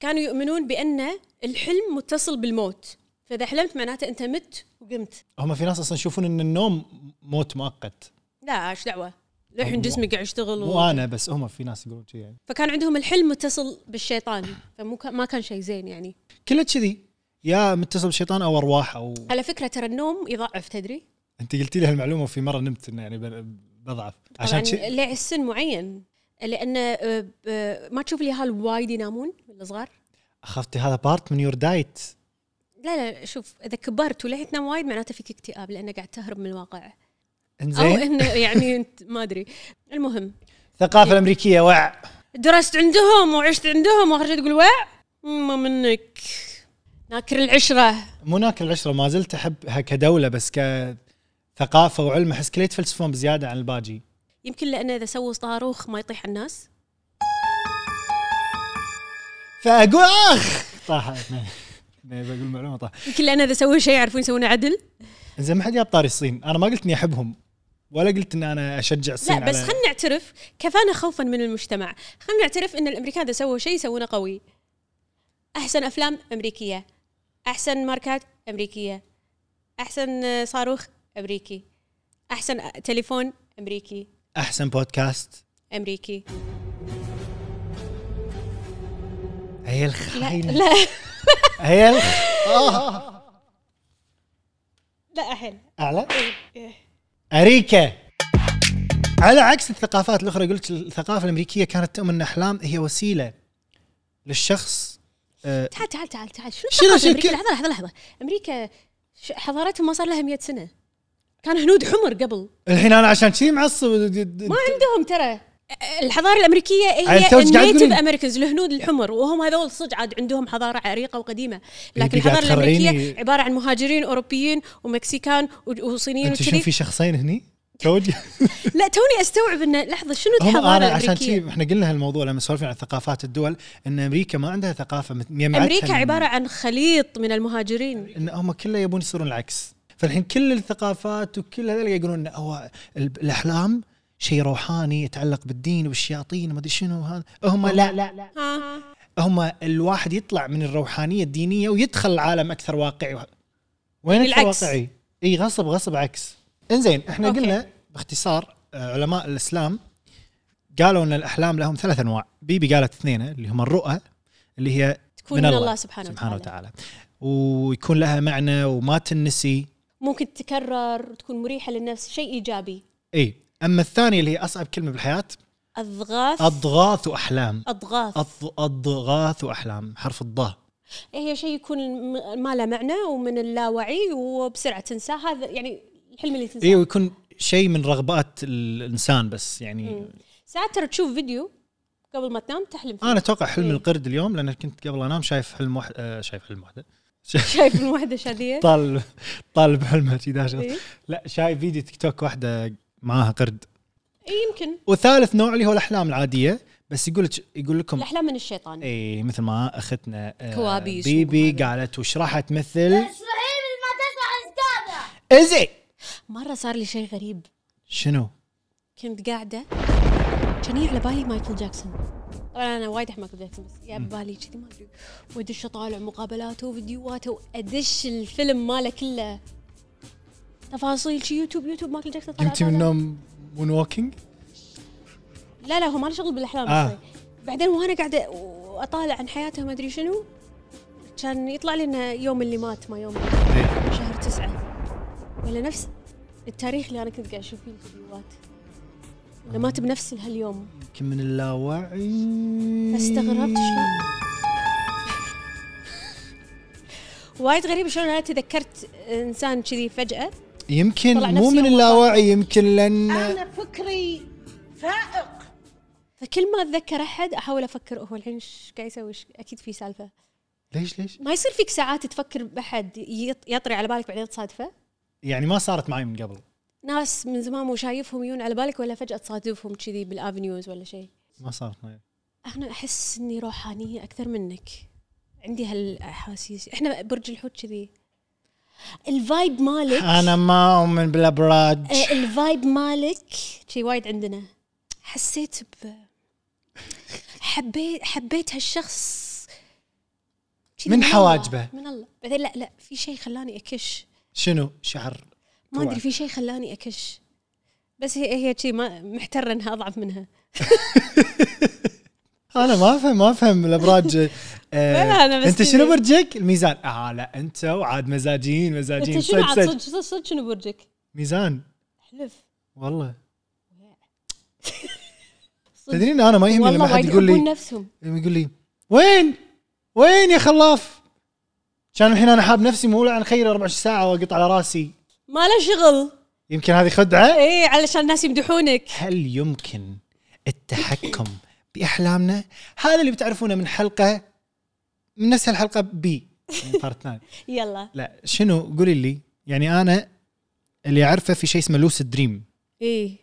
B: كانوا يؤمنون بان الحلم متصل بالموت فاذا حلمت معناته انت مت وقمت
A: هم في ناس اصلا يشوفون ان النوم موت مؤقت
B: لا ايش دعوه للحين جسمي قاعد يشتغل و...
A: مو انا بس هم في ناس يقولون كذي يعني
B: فكان عندهم الحلم متصل بالشيطان فمو كان- ما كان شيء زين يعني
A: كله كذي يا متصل بالشيطان او ارواح او
B: على فكره ترى النوم يضعف تدري
A: انت قلتي لي هالمعلومه في مره نمت انه يعني ب- بضعف
B: طبعا
A: عشان شي...
B: لعي سن معين لان آه، آه، ما تشوف اليهال وايد ينامون الصغار
A: خفتي هذا بارت من يور دايت
B: لا لا شوف اذا كبرت ولعت تنام وايد معناته فيك اكتئاب لانك قاعد تهرب من الواقع او
A: انزين
B: انه يعني [laughs] انت ما ادري المهم
A: الثقافه الامريكيه وع
B: درست عندهم وعشت عندهم واخر شيء تقول وع ما منك ناكر العشره
A: مو ناكل العشره ما زلت احبها كدوله بس كثقافه وعلم احس كله يتفلسفون بزياده عن الباجي
B: يمكن لانه اذا سووا صاروخ ما يطيح على الناس
A: فاقول اخ طاح [laughs] أنا بقول معلومه طاح
B: يمكن لانه اذا سووا شيء يعرفون يسوون عدل
A: زين ما حد جاب طاري الصين انا ما قلت اني احبهم ولا قلت ان انا اشجع الصين
B: لا بس
A: على-
B: خلينا نعترف كفانا خوفا من المجتمع خلينا نعترف ان الامريكان اذا سووا شيء يسوونه قوي احسن افلام امريكيه احسن ماركات امريكيه احسن آه، صاروخ امريكي احسن آه، تليفون امريكي
A: احسن بودكاست
B: امريكي
A: هي
B: لا
A: الخاينه
B: لا
A: هي الخ- [laughs] آه.
B: لا إيه، احل
A: اعلى اريكا على عكس الثقافات الاخرى قلت الثقافه الامريكيه كانت تؤمن ان الاحلام هي وسيله للشخص آه،
B: تعال تعال تعال تعال شنو
A: شنو-
B: ثقافة
A: شنو
B: امريكا
A: كل-
B: لحظه لحظه لحظه امريكا ش- حضارتهم ما صار لها 100 سنه كان هنود حمر قبل
A: الحين انا عشان كذي معصب د- د-
B: ما عندهم ترى الحضاره الامريكيه
A: عاد
B: هي
A: توج قاعد
B: النيتف
A: تقولين.
B: امريكانز الهنود الحمر وهم هذول صدق عاد عندهم حضاره عريقه وقديمه لكن
A: قاعد
B: الحضاره الامريكيه
A: تخرعيني.
B: عباره عن مهاجرين اوروبيين ومكسيكان و- وصينيين
A: انت شنو في
B: وكذي
A: شخصين هني؟ توجي
B: لا توني استوعب انه لحظه شنو
A: هم
B: الحضاره
A: انا عشان
B: الامريكيه
A: كذي احنا قلنا هالموضوع لما سولفنا عن ثقافات الدول ان امريكا ما عندها ثقافه مت- مجمعتها
B: امريكا
A: من-
B: عباره عن خليط من المهاجرين
A: ان هم كله يبون يصيرون العكس فالحين كل الثقافات وكل هذول يقولون إن هو ال- الاحلام شيء روحاني يتعلق بالدين والشياطين وما ادري شنو هذا هم لا لا لا
B: ها
A: هم الواحد يطلع من الروحانيه الدينيه ويدخل العالم اكثر واقعي وين
B: يعني
A: اكثر
B: العكس.
A: واقعي؟ اي غصب غصب عكس انزين احنا
B: أوكي.
A: أوكي. قلنا باختصار آه، علماء الاسلام قالوا ان الاحلام لهم ثلاث انواع بيبي قالت اثنين اللي هم الرؤى اللي هي
B: تكون من الله سبحانه
A: سبحانه
B: وتعالى.
A: وتعالى ويكون لها معنى وما تنسي
B: ممكن تتكرر وتكون مريحه للنفس شيء ايجابي
A: اي اما الثانيه اللي هي اصعب كلمه بالحياه
B: اضغاث
A: اضغاث واحلام
B: اضغاث
A: أض- اضغاث واحلام حرف الضاء
B: إيه، هي شيء يكون م- ما له معنى ومن اللاوعي وبسرعه تنساه هذا يعني الحلم اللي تنساه
A: اي إيه، ويكون شيء من رغبات الانسان بس يعني
B: ساعات ترى تشوف فيديو قبل ما تنام تحلم فيه
A: انا
B: [laughs]
A: اتوقع حلم
B: إيه.
A: القرد اليوم لان كنت قبل انام شايف حلم واحد آه شايف حلم واحده
B: شايف الوحده
A: [laughs]
B: شاديه
A: طال طالب حلمها كذي داشر
B: إيه.
A: لا شايف فيديو تيك توك واحده معاها قرد
B: اي إيه، يمكن
A: وثالث نوع اللي هو الاحلام العاديه بس يقول لك- يقول لكم
B: الاحلام من الشيطان
A: اي مثل ما اختنا آه،
B: كوابيس
A: بيبي
B: وهذا.
A: قالت وش راح تمثل
D: اسمعيني إيه، ما تسمع استاذه
A: ازي
B: مره صار لي شيء غريب
A: شنو؟
B: كنت قاعده كان يجي على بالي مايكل جاكسون طبعا انا وايد احمق بدايتهم بس يا ببالي كذي ما ادري وادش اطالع مقابلاته وفيديوهاته وادش الفيلم ماله كله تفاصيل شي يوتيوب يوتيوب مايكل جاكسون طلع
A: قمتي من
B: طالع.
A: النوم مون ووكينج
B: لا لا هو ما له شغل بالاحلام
A: آه.
B: آه. بعدين وانا قاعده اطالع عن حياته ما ادري شنو كان يطلع لي انه يوم اللي مات ما يوم شهر تسعة ولا نفس التاريخ اللي انا كنت قاعد اشوف فيه الفيديوهات انه مات بنفس هاليوم
A: يمكن من اللاوعي
B: فاستغربت شلون وايد غريب شلون انا تذكرت انسان كذي فجاه
A: يمكن
B: طلع
A: مو
B: نفس
A: من
B: يوم آه.
A: اللاوعي يمكن لان
C: انا فكري فائق
B: فكل ما اتذكر احد احاول افكر هو الحين ايش قاعد يسوي إيش- اكيد في سالفه
A: ليش ليش؟
B: ما يصير فيك ساعات تفكر باحد يط- يطري على بالك بعدين تصادفه
A: يعني ما صارت معي من قبل
B: ناس من زمان مو شايفهم يجون على بالك ولا فجاه تصادفهم كذي بالافنيوز ولا شيء
A: ما صارت معي
B: انا احس اني روحانيه اكثر منك عندي هالاحاسيس احنا برج الحوت كذي الفايب مالك
A: انا ما اؤمن بالابراج
B: آه، الفايب مالك شي وايد عندنا حسيت ب حبيت حبيت هالشخص شي
A: من
B: الله،
A: حواجبه.
B: من الله بعدين لا لا في شيء خلاني اكش
A: شنو شعر
B: ما ادري في شيء خلاني اكش بس هي هي شي ما محتره انها اضعف منها
A: انا ما افهم ما افهم
B: [laughs]
A: الابراج
B: ولا أنا
A: آه
B: بس يعني
A: انت شنو
B: كذي.
A: برجك؟ الميزان اه لا انت وعاد مزاجين
B: انت
A: مزاجين
B: شنو
A: صدق
B: عاد
A: صدق
B: صدق صدق صدق شنو برجك؟
A: ميزان
B: احلف
A: والله
B: [laughs] صدق.
A: تدرين انا ما يهمني لما
B: والله
A: حد
B: وايد
A: يقول
B: يحبون
A: لي
B: نفسهم
A: لما يقول لي وين؟ وين يا خلاف؟ كان الحين انا حاب نفسي مو عن خير 24 ساعه واقط على راسي
B: ما له شغل
A: يمكن هذه خدعه؟
B: اي علشان الناس يمدحونك
A: هل يمكن التحكم باحلامنا؟ هذا اللي بتعرفونه من حلقه من نفس الحلقه بي من بارت 9
B: يلا
A: يعني لا شنو قولي لي يعني انا اللي اعرفه في شيء اسمه لوسيد دريم
B: اي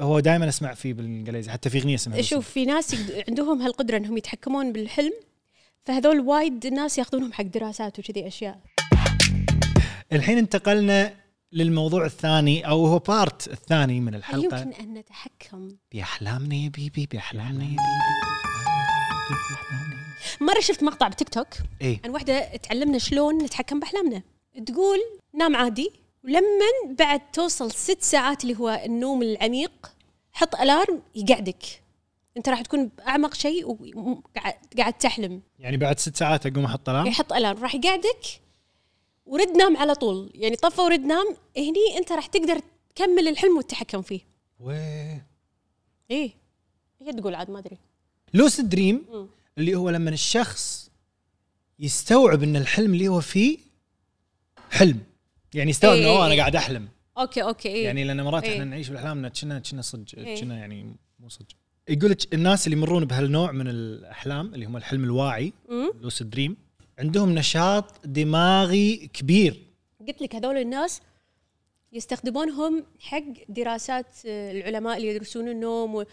A: هو دائما اسمع فيه بالانجليزي حتى في اغنيه اسمها
B: إيه، شوف في ناس يقد- عندهم هالقدره انهم يتحكمون بالحلم فهذول وايد الناس ياخذونهم حق دراسات وكذي اشياء
A: Lucid. الحين انتقلنا للموضوع الثاني او هو بارت الثاني من
B: هل
A: الحلقه
B: يمكن ان نتحكم
A: باحلامنا يا بيبي باحلامنا يا بيبي
B: مره شفت مقطع بتيك توك
A: ايه
B: عن وحده تعلمنا شلون نتحكم باحلامنا تقول نام عادي ولما بعد توصل ست ساعات اللي هو النوم العميق حط الارم يقعدك انت راح تكون باعمق شيء وقاعد قاعد تحلم
A: يعني بعد ست ساعات اقوم احط الارم
B: يحط الارم راح يقعدك ورد نام على طول يعني طفى ورد نام هني انت راح تقدر تكمل الحلم وتتحكم فيه
A: ويه.
B: ايه هي تقول عاد ما ادري
A: لوسيد دريم
B: مم.
A: اللي هو لما الشخص يستوعب ان الحلم اللي هو فيه حلم يعني يستوعب انه
B: إيه،
A: أوه، انا
B: إيه.
A: قاعد احلم
B: اوكي اوكي ايه
A: يعني لان مرات
B: إيه.
A: احنا نعيش بالاحلام كنا كنا صدق
B: إيه.
A: كنا يعني مو صدق يقول لك الناس اللي يمرون بهالنوع من الاحلام اللي هم الحلم الواعي
B: مم.
A: لوسيد دريم عندهم نشاط دماغي كبير
B: قلت لك هذول الناس يستخدمونهم حق دراسات آه، العلماء اللي يدرسون النوم و-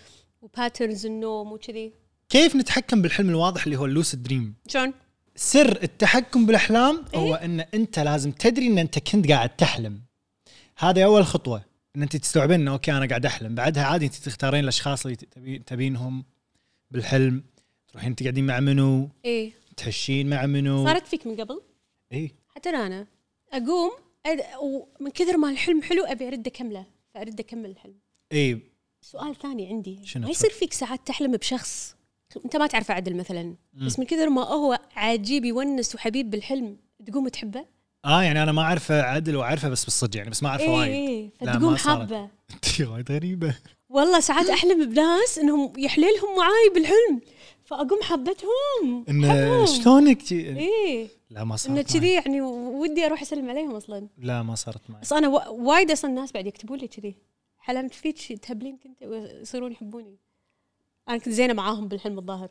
B: وباترنز النوم وكذي
A: كيف نتحكم بالحلم الواضح اللي هو اللوسيد دريم
B: شلون؟
A: سر التحكم بالاحلام هو
B: إيه.
A: ان انت لازم تدري ان انت كنت قاعد تحلم هذا اول خطوه ان انت تستوعبين انه اوكي انا قاعد احلم بعدها عادي انت تختارين الاشخاص اللي تبي- تبينهم بالحلم تروحين تقعدين مع منو
B: ايه
A: تحشين مع منو إيه.
B: صارت فيك من قبل
A: اي
B: حتى انا اقوم أد... ومن كثر ما الحلم حلو ابي ارده كمله فارد اكمل الحلم
A: اي
B: سؤال ثاني عندي
A: شنو
B: ما
A: تفضل.
B: يصير فيك ساعات تحلم بشخص انت ما تعرفه عدل مثلا بس من كثر ما هو عجيب يونس وحبيب بالحلم تقوم تحبه
A: اه يعني انا ما اعرفه عدل واعرفه بس بالصدق يعني بس ما
B: إيه،
A: اعرفه وايد
B: اي
A: لا،
B: فتقوم
A: ما صارت. [laughs]
B: حابه
A: انت وايد غريبه
B: والله ساعات احلم بناس انهم يحليلهم معاي بالحلم فاقوم حبتهم
A: انه شلونك جي-
B: اي
A: لا ما
B: انه
A: صارت معي.
B: إيه. كذي يعني ودي اروح اسلم عليهم اصلا
A: لا ما صارت معي
B: بس انا وا- وايد اصلا الناس بعد يكتبون لي كذي حلمت فيك شي تهبلين كنت ويصيرون يحبوني انا كنت زينه معاهم بالحلم الظاهر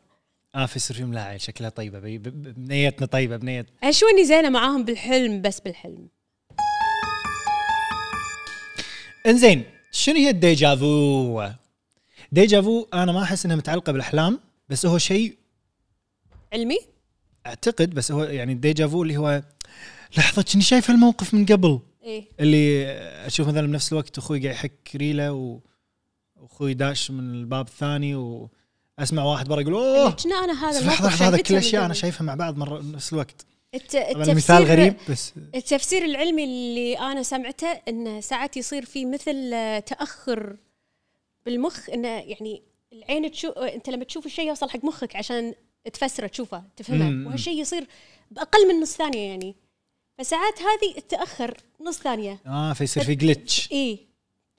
A: اه في يصير في ملاعب شكلها طيبه بي- ب- ب- بنيتنا طيبه بنيه
B: انا يعني شو اني زينه معاهم بالحلم بس بالحلم
A: انزين شنو هي الديجافو؟ ديجافو انا ما احس انها متعلقه بالاحلام بس هو شيء
B: علمي
A: اعتقد بس هو يعني الديجافو اللي هو لحظه كني شايف الموقف من قبل
B: ايه
A: اللي اشوف مثلا بنفس الوقت اخوي قاعد يحك ريله و... واخوي داش من الباب الثاني و... اسمع واحد برا يقول
B: اللي
A: اوه
B: كنا انا هذا
A: بس
B: الموقف
A: لحظه لحظه
B: شايفتها
A: كل
B: من
A: الاشياء انا
B: قبل.
A: شايفها مع بعض مره نفس الوقت
B: الت-
A: طبعا
B: التفسير
A: المثال
B: [laughs]
A: غريب بس
B: التفسير العلمي اللي انا سمعته انه ساعات يصير في مثل آه، تاخر بالمخ انه يعني العين تشو انت لما تشوف الشيء يوصل حق مخك عشان تفسره تشوفه
A: مم.
B: تفهمه وهالشيء يصير باقل من نص ثانيه يعني فساعات هذه تاخر نص ثانيه
A: اه فيصير في جلتش
B: اي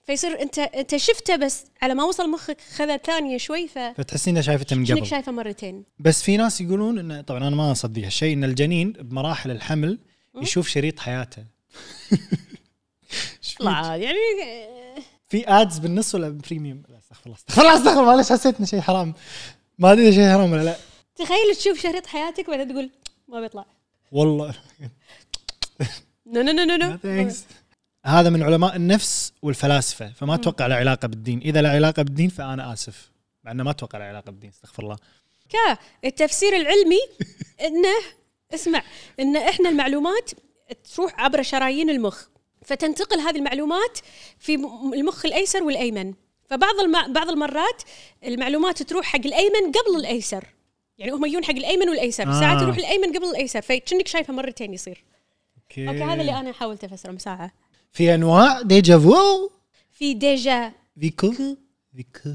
B: فيصير انت انت شفته بس على ما وصل مخك خذ ثانيه شوي فكأنك
A: فتحسين إنها شايفته من قبل
B: شايفه مرتين
A: بس في ناس يقولون انه طبعا انا ما اصدق هالشيء ان الجنين بمراحل الحمل يشوف شريط حياته إيش فيك؟
B: لا عاد يعني
A: في ادز بالنص ولا بريميوم لا استغفر الله استغفر الله استغفر الله معلش حسيت انه شيء حرام ما ادري إذا شيء حرام ولا لا
B: تخيل تشوف شريط حياتك وبعدين تقول ما بيطلع [laughs]
A: والله
B: نو نو نو نو
A: لا
B: نو
A: thanks. هذا من علماء النفس والفلاسفه فما اتوقع له علاقه بالدين اذا له علاقه بالدين فانا اسف مع انه ما اتوقع له علاقه بالدين استغفر الله
B: كا التفسير العلمي انه اسمع ان احنا المعلومات تروح عبر شرايين المخ فتنتقل هذه المعلومات في م- المخ الايسر والايمن فبعض الم... بعض المرات المعلومات تروح حق الايمن قبل الايسر يعني هم يجون حق الايمن والايسر
A: آه.
B: آه. ساعات يروح الايمن قبل الايسر فكأنك شايفه مرتين يصير
A: اوكي,
B: اوكي هذا اللي انا حاولت افسره مساعه
A: في انواع ديجا فو
B: في ديجا
A: فيكو فيكو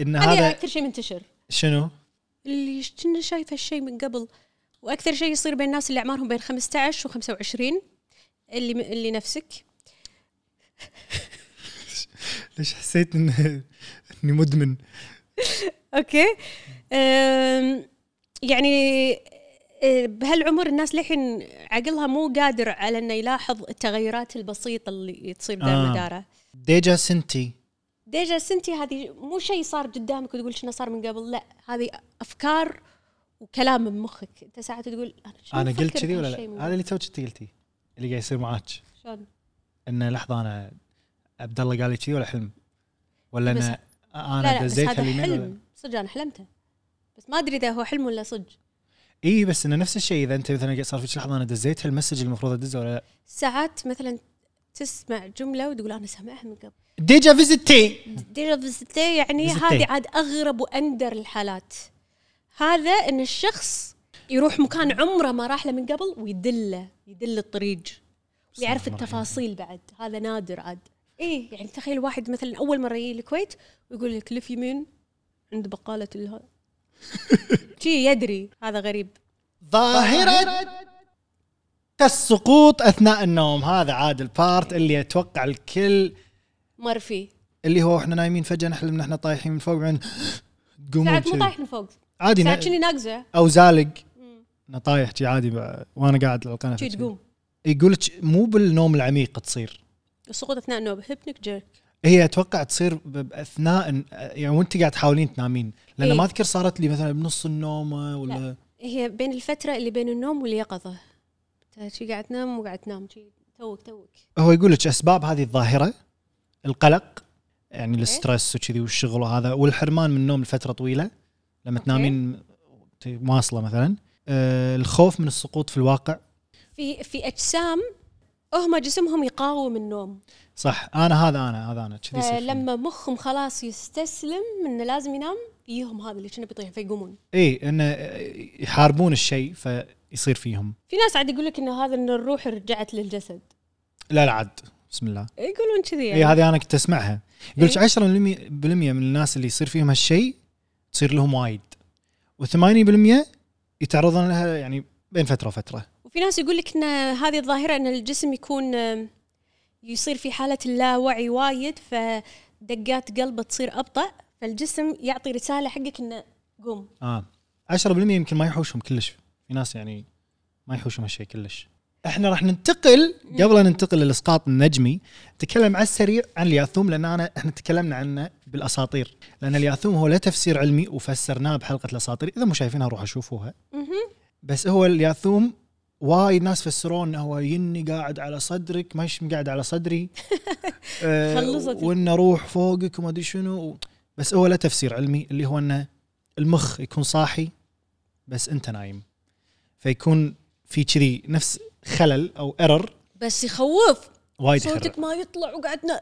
A: ان
B: هذا
A: هذا
B: اكثر شيء منتشر
A: شنو؟
B: اللي كنا شايف هالشيء من قبل واكثر شيء يصير بين الناس اللي اعمارهم بين 15 و25 اللي اللي نفسك
A: ليش حسيت ان اني مدمن؟
B: اوكي أم، يعني أه، بهالعمر الناس للحين عقلها مو قادر على انه يلاحظ التغيرات البسيطه اللي تصير
A: آه.
B: دار مداره
A: ديجا سنتي
B: ديجا سنتي هذه مو شيء صار قدامك وتقول شنو صار من قبل لا هذه افكار وكلام من مخك انت ساعات تقول انا شنو
A: انا
B: أفكر
A: قلت كذي ولا
B: بهالشيء من
A: لا؟ هذا اللي توك انت قلتي اللي قاعد يصير معاك
B: قبل؟ شلون؟
A: انه لحظه انا عبد الله قال لي كذي ولا حلم؟ ولا
B: بس-
A: انا
B: لا
A: انا
B: لا بس
A: دزيت
B: هذا
A: هاليمين ولا
B: حلم صدق انا حلمته بس ما ادري اذا هو حلم ولا صدق
A: اي بس انه نفس الشيء اذا انت مثلا صار فيك لحظه انا دزيت هالمسج اللي المفروض ادزه ولا لا؟
B: ساعات مثلا تسمع جمله وتقول انا سامعها من قبل
A: ديجا فيزيتي
B: ديجا فيزيتي يعني
A: فيزيتي.
B: هذه عاد اغرب واندر الحالات هذا ان الشخص يروح مكان عمره ما راح له من قبل ويدله يدل الطريق ويعرف
A: الله
B: التفاصيل بعد هذا نادر عاد ايه يعني تخيل واحد مثلا اول مره يجي الكويت ويقول لك لف يمين عند بقاله الها
A: [laughs]
B: شي يدري هذا غريب
A: ظاهره السقوط اثناء النوم هذا عاد البارت اللي اتوقع الكل
B: مر فيه
A: اللي هو احنا نايمين فجاه نحلم ان احنا طايحين من فوق بعدين [gasps] تقومون
B: ساعات مو
A: كذي.
B: طايح من فوق
A: عادي
B: ساعات
A: ن-
B: شني ناقزه
A: او زالق انه طايح شي عادي بقى. وانا قاعد على القناه
B: شي تقوم
A: يقول لك مو بالنوم العميق تصير
B: السقوط اثناء النوم هيبنك جيرك
A: هي اتوقع تصير ب- باثناء إن- يعني وانت قاعد تحاولين تنامين لان
B: إيه.
A: ما اذكر صارت لي مثلا بنص النوم ولا
B: هي بين الفتره اللي بين النوم واليقظه أنت شي قاعد تنام وقاعد تنام شي توك توك
A: هو يقول لك اسباب هذه الظاهره القلق يعني
B: إيه.
A: الستريس وكذي والشغل وهذا والحرمان من النوم لفتره طويله لما تنامين ت- واصله مثلا آه، الخوف من السقوط في الواقع
B: في في اجسام هم جسمهم يقاوم النوم
A: صح انا هذا انا هذا انا
B: آه،
A: كذي يصير فيني.
B: فلما مخهم خلاص يستسلم انه لازم ينام يجيهم هذا اللي كنا بيطيح فيقومون
A: اي انه إيه، يحاربون الشيء فيصير فيهم
B: في ناس عاد يقول لك ان هذا ان الروح رجعت للجسد
A: لا لا عاد بسم الله
B: يقولون كذي
A: اي
B: يعني
A: هذه انا كنت اسمعها يقول لك
B: إيه.
A: 10% بالمية من الناس اللي يصير فيهم هالشيء تصير لهم وايد و80% يتعرضون لها يعني بين فتره وفتره
B: وفي ناس يقول لك ان هذه الظاهره ان الجسم يكون آم، يصير في حاله اللاوعي وايد فدقات قلبه تصير ابطا فالجسم يعطي رساله حقك انه قوم
A: اه 10% يمكن ما يحوشهم كلش في ناس يعني ما يحوشهم هالشيء كلش احنا راح ننتقل قبل أن ننتقل للاسقاط النجمي نتكلم على السريع عن الياثوم لان انا احنا تكلمنا عنه بالاساطير لان الياثوم هو لا تفسير علمي وفسرناه بحلقه الاساطير اذا مو شايفينها روحوا شوفوها
B: مهم.
A: بس هو الياثوم وايد ناس فسروه انه هو يني قاعد على صدرك ما يش قاعد على
B: [laughs]
A: صدري آه،
B: خلصت.
A: وانه روح فوقك وما ادري شنو بس هو له تفسير علمي اللي هو انه المخ يكون صاحي بس انت نايم فيكون في كذي نفس خلل او ايرور
B: بس يخوف
A: وايد يخرب
B: صوتك ما يطلع وقعدنا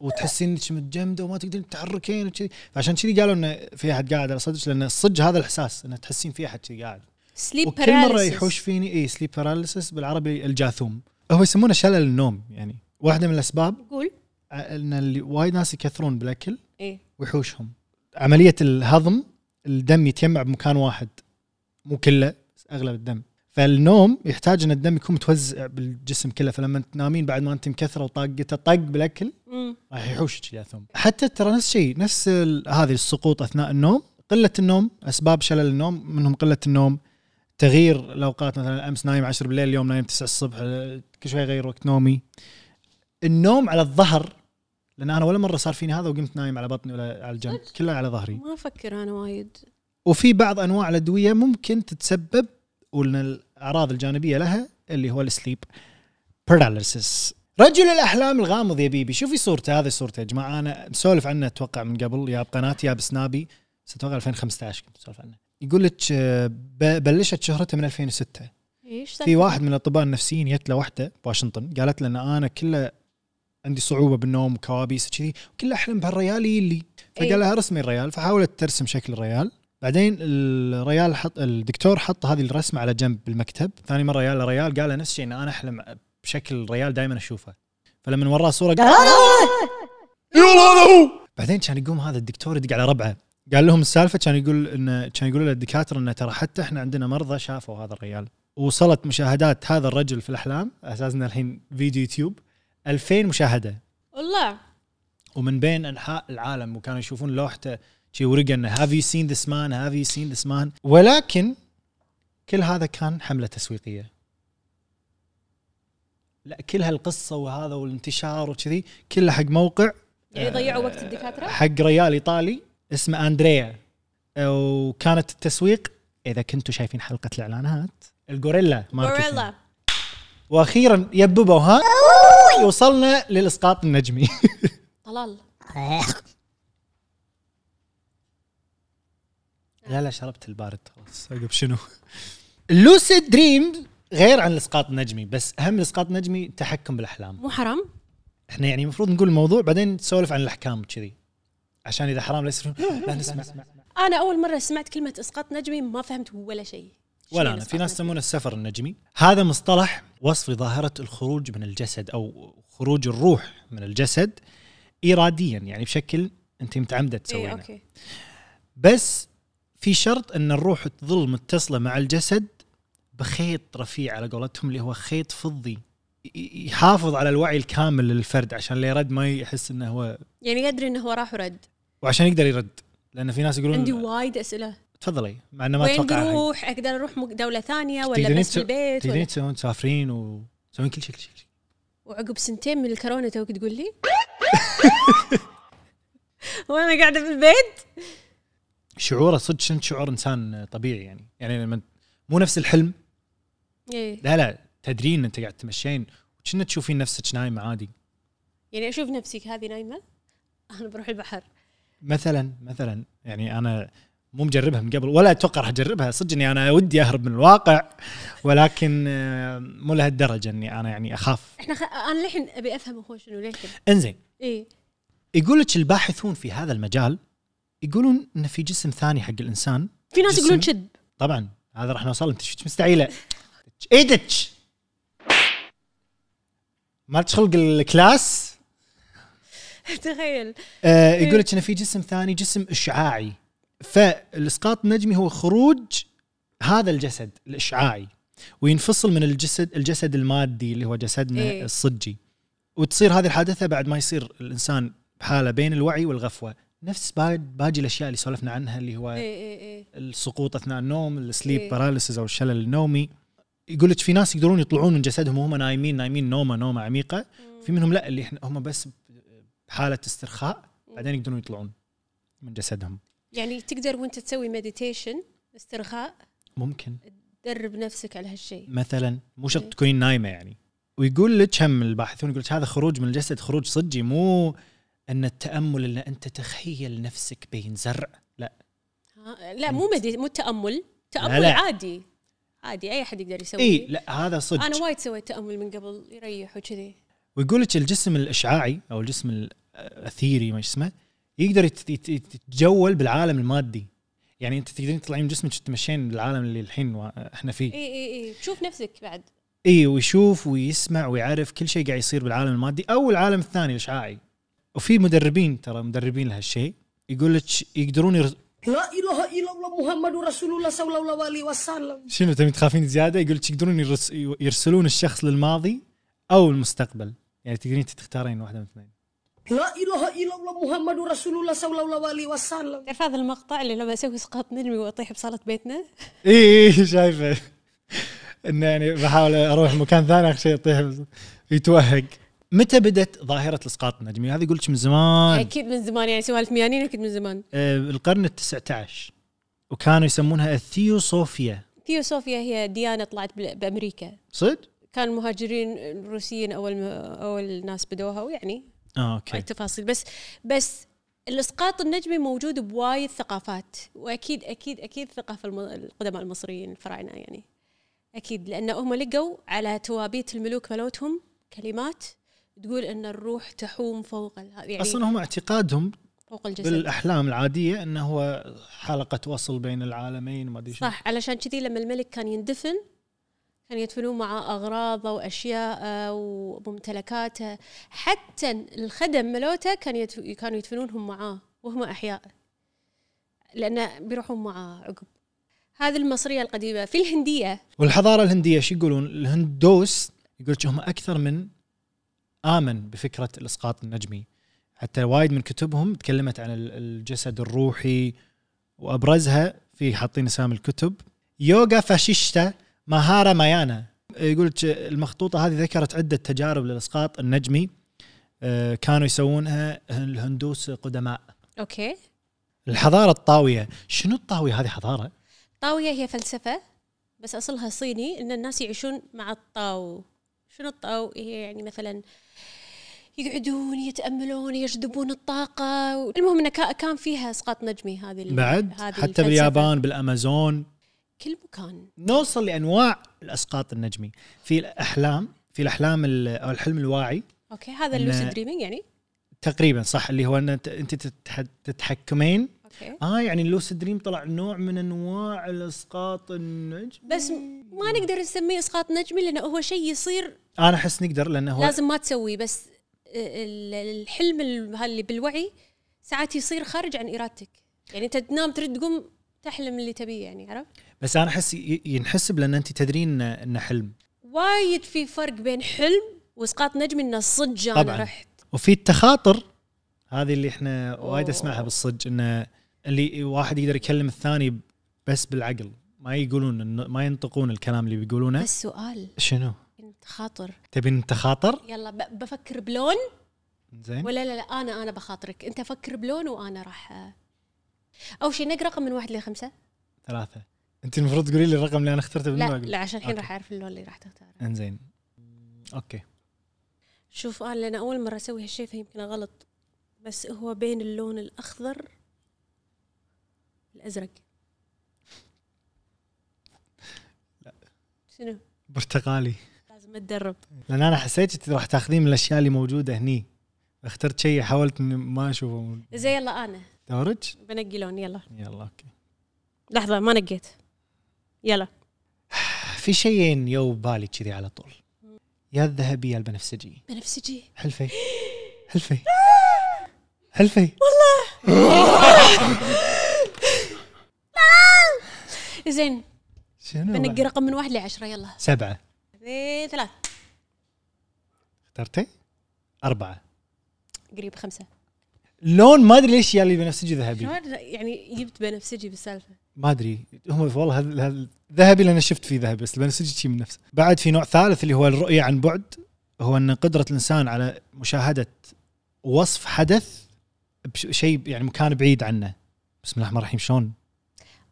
A: وتحسين انك متجمده وما تقدرين تتحركين وكذي فعشان كذي قالوا انه في احد قاعد على صدرك لان صدق هذا الاحساس انه تحسين في احد كذي قاعد
B: سليب
A: وكل مره يحوش فيني اي سليب باراليسس بالعربي الجاثوم هو يسمونه شلل النوم يعني واحده من الاسباب
B: قول
A: آه، ان اللي وايد ناس يكثرون بالاكل
B: ايه
A: ويحوشهم عمليه الهضم الدم يتجمع بمكان واحد مو كله بس اغلب الدم فالنوم يحتاج ان الدم يكون متوزع بالجسم كله فلما تنامين بعد ما انت مكثره وطاقته طق بالاكل
B: مم.
A: راح يحوشك الياثوم حتى ترى نفس الشيء نفس ال- هذه السقوط اثناء النوم قله النوم اسباب شلل النوم منهم قله النوم تغيير الاوقات مثلا امس نايم 10 بالليل اليوم نايم 9 الصبح آه، كل شوي اغير وقت نومي النوم على الظهر لان انا ولا مره صار فيني هذا وقمت نايم على بطني ولا على الجنب كله على ظهري
B: ما افكر انا وايد
A: وفي بعض انواع الادويه ممكن تتسبب وان الاعراض الجانبيه لها اللي هو السليب باراليسيس رجل الاحلام الغامض يا بيبي شوفي صورته هذه صورته يا جماعه انا مسولف عنه اتوقع من قبل يا بقناتي يا بسنابي بس اتوقع 2015 كنت مسولف عنه يقول لك آه، ب- بلشت شهرته من 2006
B: ايش
A: في واحد من الاطباء النفسيين جت له واحده بواشنطن قالت له ان انا كله عندي صعوبه بالنوم وكوابيس وكذي وكل احلم بهالريال يلي
B: إيه.
A: فقال لها رسمي الريال فحاولت ترسم شكل الريال بعدين الريال حط الدكتور حط هذه الرسمه على جنب بالمكتب ثاني مره يا له ريال قال له نفس الشيء ان انا احلم بشكل الريال دائما اشوفه فلما وراه صوره قال يلا هذا هو بعدين كان يقوم هذا الدكتور يدق على ربعه قال لهم السالفه كان يقول انه كان يقول للدكاتره انه ترى حتى احنا عندنا مرضى شافوا هذا الريال وصلت مشاهدات هذا الرجل في الاحلام اساسنا الحين فيديو يوتيوب 2000 مشاهده
B: والله
A: ومن بين انحاء العالم وكانوا يشوفون لوحته شي ورقه انه هاف يو سين ذس مان هاف يو سين ذس مان ولكن كل هذا كان حمله تسويقيه لا كل هالقصه وهذا والانتشار وكذي كله حق موقع آه،
B: يعني يضيعوا وقت الدكاتره
A: حق ريال ايطالي اسمه اندريا وكانت التسويق اذا كنتوا شايفين حلقه الاعلانات الغوريلا ماركتينج.
B: غوريلا
A: واخيرا يببوا ها وصلنا للاسقاط النجمي
B: طلال
A: لا لا شربت البارد خلاص عقب شنو اللوسيد دريم غير عن الاسقاط النجمي بس اهم الاسقاط النجمي التحكم بالاحلام
B: مو حرام
A: احنا يعني المفروض نقول الموضوع بعدين نسولف عن الاحكام كذي عشان اذا حرام لا [laughs] يصير لا نسمع
B: انا اول مره سمعت كلمه اسقاط نجمي ما فهمت ولا شيء
A: ولا
B: شنو
A: انا في
B: إسقاط
A: ناس
B: نجمي؟
A: يسمونه السفر النجمي هذا مصطلح وصف لظاهره الخروج من الجسد او خروج الروح من الجسد اراديا يعني بشكل انت متعمده
B: اي
A: تسوينه
B: اوكي
A: بس في شرط ان الروح تظل متصله مع الجسد بخيط رفيع على قولتهم اللي هو خيط فضي ي- ي- يحافظ على الوعي الكامل للفرد عشان لا يرد ما يحس انه هو
B: يعني يدري انه هو راح ورد
A: وعشان يقدر يرد لان في ناس
B: عندي
A: يقولون
B: وايد اسئله
A: تفضلي مع انه ما
B: وين
A: اتوقع أحد.
B: بروح اقدر اروح مك- دوله ثانيه ولا
A: تقدرين
B: بس في
A: تسو-
B: البيت
A: تقدرين
B: ولا
A: تسوون تسافرين وتسوين كل شيء كل شيء
B: وعقب سنتين من الكورونا توك تقول
A: [laughs]
B: لي وانا قاعده في البيت
A: شعوره صدق شنت شعور انسان طبيعي يعني يعني لما مو نفس الحلم
B: إيه.
A: لا لا تدرين انت قاعد تمشين وكنا تشوفين نفسك نايم عادي
B: يعني اشوف نفسي هذه نايمه انا بروح البحر
A: مثلا مثلا يعني انا مو مجربها من قبل ولا اتوقع راح اجربها صدق اني انا ودي اهرب من الواقع ولكن آه، مو لهالدرجه اني انا يعني اخاف
B: احنا خ... انا للحين ابي افهم هو شنو إيه. للحين
A: انزين
B: اي
A: يقول لك الباحثون في هذا المجال يقولون ان في جسم ثاني حق الانسان
B: في ناس
A: جسم.
B: يقولون كذب
A: طبعا هذا راح نوصل انت شفت مستحيله ايدك ما تخلق الكلاس
B: [laughs] تخيل
A: آه
B: إيه.
A: يقول لك ان في جسم ثاني جسم اشعاعي فالاسقاط النجمي هو خروج هذا الجسد الاشعاعي وينفصل من الجسد الجسد المادي اللي هو جسدنا
B: إيه.
A: إيه؟ الصجي وتصير هذه الحادثه بعد ما يصير الانسان بحاله بين الوعي والغفوه نفس با- باقي الاشياء اللي سولفنا عنها اللي هو
B: اي اي اي
A: السقوط اثناء النوم السليب
B: إيه.
A: باراليسز او الشلل النومي يقول لك في ناس يقدرون يطلعون من جسدهم وهم نايمين نايمين نومه نومه عميقه في منهم لا اللي احنا هم بس بحاله استرخاء بعدين يقدرون يطلعون من جسدهم
B: يعني تقدر وانت تسوي مديتيشن استرخاء
A: ممكن
B: تدرب نفسك على هالشيء
A: مثلا مو شرط
B: إيه.
A: تكونين نايمه يعني ويقول لك هم الباحثون يقول لك هذا خروج من الجسد خروج صجي مو ان التامل ان انت تخيل نفسك بين زرع لا
B: ها؟ لا مو مدي... مو التامل تامل
A: لا.
B: عادي عادي اي احد يقدر يسوي
A: اي إيه، لا هذا صدق
B: انا وايد سويت تامل من قبل يريح وكذي
A: ويقول لك الجسم الاشعاعي او الجسم الاثيري ما اسمه يقدر يت- يت- يت- يتجول بالعالم المادي يعني انت تقدرين تطلعين من جسمك تتمشين بالعالم اللي الحين وا- احنا فيه
B: اي اي اي تشوف نفسك بعد
A: اي إيه، ويشوف ويسمع ويعرف كل شيء قاعد يصير بالعالم المادي او العالم الثاني الاشعاعي وفي مدربين ترى مدربين لهالشيء يقول لك يقدرون ير...
E: لا إله إلا الله محمد رسول الله صلى الله عليه وسلم
A: شنو تبي تخافين زياده يقول لك يقدرون يرس... يرسلون الشخص للماضي او المستقبل يعني تقدرين انت تختارين واحده من اثنين
E: لا إله إلا الله محمد رسول الله صلى الله عليه وسلم
B: تعرف هذا المقطع اللي لما اسوي اسقاط نجمي واطيح بصاله بيتنا
A: اي اي شايفه انه إيه، يعني بحاول اروح مكان ثاني اخر شيء يطيح بس- يتوهق متى بدت ظاهره الاسقاط النجمي هذا يقول لك من زمان
B: اكيد من زمان يعني سوالف ميانين اكيد من زمان
A: آه، القرن ال19 وكانوا يسمونها الثيوصوفيا
B: ثيوسوفيا هي ديانه طلعت بال- بامريكا
A: صدق؟
B: كان المهاجرين الروسيين اول ما اول ناس بدوها ويعني
A: اه
B: هاي
A: اوكي
B: التفاصيل بس بس الاسقاط النجمي موجود بوايد ثقافات واكيد اكيد اكيد ثقافه الم- القدماء المصريين الفراعنه يعني اكيد لان هم لقوا على توابيت الملوك مالتهم كلمات تقول ان الروح تحوم فوق ال- يعني
A: اصلا هم اعتقادهم
B: فوق الجسد
A: بالاحلام العاديه انه هو حلقه وصل بين العالمين وما ادري شنو.
B: صح علشان كذي لما الملك كان يندفن كان يدفنون معاه أغراضه وأشياءه وممتلكاته حتى الخدم ملوته كان يدف... كانوا يدفنونهم معاه وهم أحياء لأنه بيروحون معاه عقب هذه المصرية القديمة في الهندية
A: والحضاره الهنديه شو يقولون؟ الهندوس يقول لك هم اكثر من امن بفكره الاسقاط النجمي حتى وايد من كتبهم تكلمت عن ال- الجسد الروحي وابرزها في حاطين اسامي الكتب يوغا فاشيشتا مهارا مايانا يقول لك المخطوطه هذه ذكرت عده تجارب للاسقاط النجمي آه، كانوا يسوونها الهندوس قدماء
B: أوكي
A: الحضاره الطاويه شنو الطاويه هذه حضاره
B: طاوية هي فلسفة بس أصلها صيني إن الناس يعيشون مع الطاو شنو الطاو هي يعني مثلا يقعدون يتأملون يجذبون الطاقة و- المهم إن كا- كان فيها إسقاط نجمي هذه ال-
A: بعد
B: هذه
A: حتى
B: الفلسفة.
A: باليابان بالامازون
B: كل مكان
A: نوصل لانواع الاسقاط النجمي في الاحلام في الاحلام ال- او الحلم الواعي
B: أوكي هذا
A: إن-
B: اللوسيد دريمينج يعني
A: تقريبا صح اللي هو ان انت أنت تتح- تتحكمين
B: أوكي
A: اه يعني اللوسيد دريم طلع نوع من انواع الاسقاط النجمي
B: بس م- ما نقدر نسميه إسقاط نجمي لأنه هو شيء يصير
A: انا احس نقدر لانه هو
B: لازم ما تسويه بس ال- ال- الحلم ال- اللي بالوعي ساعات يصير خارج عن إرادتك يعني أنت تنام ترد تقوم تحلم اللي تبيه يعني عرفت؟
A: بس انا احس ي- ينحسب لان انت تدرين إنه- انه حلم
B: وايد في فرق بين حلم واسقاط نجمي انه صج انا
A: طبعاً.
B: رحت
A: وفي التخاطر هذه اللي احنا وايد
B: أوه.
A: اسمعها بالصج انه اللي واحد يقدر يكلم الثاني بس بالعقل ما يقولون إنه- ما ينطقون الكلام اللي بيقولونه
B: بس سؤال
A: شنو؟
B: انت خاطر
A: تبين نتخاطر؟
B: يلا ب- بفكر بلون
A: زين
B: ولا لا, لا انا انا بخاطرك انت فكر بلون وانا راح اول شيء نق رقم من واحد لخمسه
A: ثلاثة انت المفروض تقولي لي الرقم اللي انا اخترته
B: لا
A: بالنوع.
B: لا عشان الحين
A: أوكي.
B: راح اعرف اللون اللي راح تختاره
A: انزين اوكي
B: شوف آه، انا لان اول مره اسوي هالشيء فيمكن غلط بس هو بين اللون الاخضر الازرق لا شنو
A: برتقالي
B: لازم اتدرب
A: لان انا حسيت انت راح تاخذين من الاشياء اللي موجودة هني اخترت شيء حاولت اني ما اشوفه من
B: زي يلا انا
A: دورج
B: بنقي لون يلا
A: يلا اوكي
B: لحظة ما نقيت يلا
A: في شيئين يو بالي كذي على طول يا الذهبي يا البنفسجي
B: بنفسجي
A: حلفي حلفي حلفي
B: زين
A: شنو
B: بنقي
A: بعد؟
B: رقم من واحد لعشرة يلا
A: سبعة
B: اثنين، ثلاث
A: اخترتي؟ أربعة
B: قريب خمسة
A: لون ما ادري ليش يالي بنفسجي ذهبي
B: شلون يعني جبت بنفسجي بالسالفة
A: ما ادري هم والله هذا هذا- ذهبي لان شفت فيه ذهبي بس البنفسجي شي من نفسه. بعد في نوع ثالث اللي هو الرؤيه عن بعد هو ان قدره الانسان على مشاهده وصف حدث بشيء يعني مكان بعيد عنه. بسم الله الرحمن الرحيم شلون؟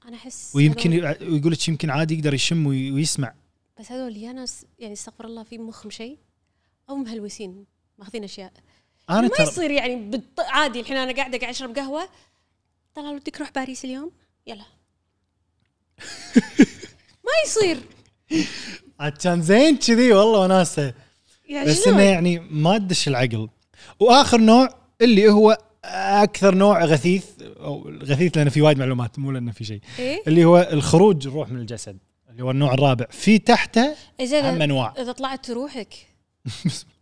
B: انا احس
A: ويمكن
B: هذول-
A: يقول لك يمكن عادي يقدر يشم وي- ويسمع
B: بس هذول يا ناس يعني استغفر الله في مخهم شيء او مهلوسين ماخذين اشياء
A: انا
B: ما
A: ترى
B: يصير يعني بالط... عادي الحين انا قاعدة قاعد اشرب قهوة طلال ودك تروح باريس اليوم
A: [laughs]
B: يلا ما يصير
A: عاد كان زين كذي والله وناسه
B: يعني
A: بس
B: شلون؟
A: انه يعني ما تدش العقل واخر نوع اللي هو اكثر نوع غثيث او غثيث لانه في وايد معلومات مو لانه في شيء
B: إيه؟
A: اللي هو الخروج الروح من الجسد اللي هو النوع الرابع في تحته
B: إيه، زين
A: أهم أنواع.
B: اذا
A: [laughs]
B: طلعت روحك [laughs]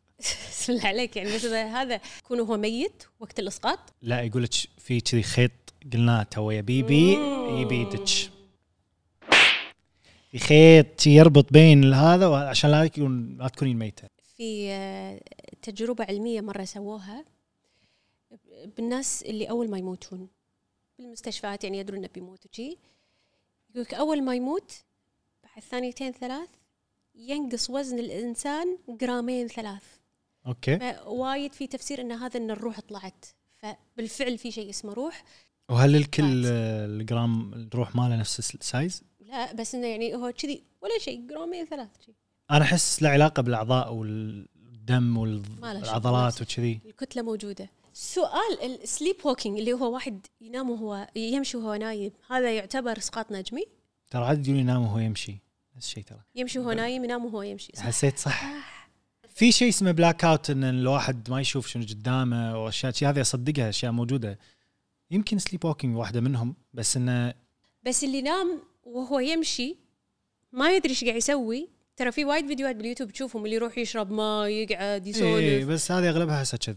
B: بسم الله عليك يعني بس اذا هذا يكون هو ميت وقت الاسقاط
A: لا يقول لك في كذي خيط قلناه تو يا بيبي يبيدك في خيط شي يربط بين هذا وهذا عشان لا يكون لا تكونين ميته
B: في آه، تجربة علمية مرة سووها بالناس اللي أول ما يموتون بالمستشفيات يعني يدرون إنه بيموت وشي يقولك أول ما يموت بعد ثانيتين ثلاث ينقص وزن الإنسان جرامين ثلاث
A: اوكي
B: فوايد في تفسير إن هذا إن الروح طلعت فبالفعل في شيء اسمه روح
A: وهل الكل آه، الجرام الروح ماله نفس السايز؟
B: لا بس إنه يعني هو كذي ولا شيء جرامين ثلاث شي.
A: انا احس له علاقه بالاعضاء والدم
B: ما له شغل.
A: والعضلات وكذي
B: الكتله موجوده سؤال السليب ووكينج اللي هو واحد ينام وهو يمشي وهو نايم هذا يعتبر اسقاط نجمي
A: ترى عاد يقولون ينام وهو يمشي نفس الشيء ترى
B: يمشي وهو نايم ينام وهو يمشي صح
A: حسيت صح في شيء اسمه بلاك اوت ان الواحد ما يشوف شنو قدامه واشياء شي هذه اصدقها اشياء موجوده يمكن سليب ووكينج واحده منهم بس انه
B: بس اللي نام وهو يمشي ما يدري ايش قاعد يسوي ترى في وايد فيديوهات باليوتيوب تشوفهم اللي يروح يشرب ماء يقعد
A: إيه
B: يسولف
A: بس هذه اغلبها هسه كذب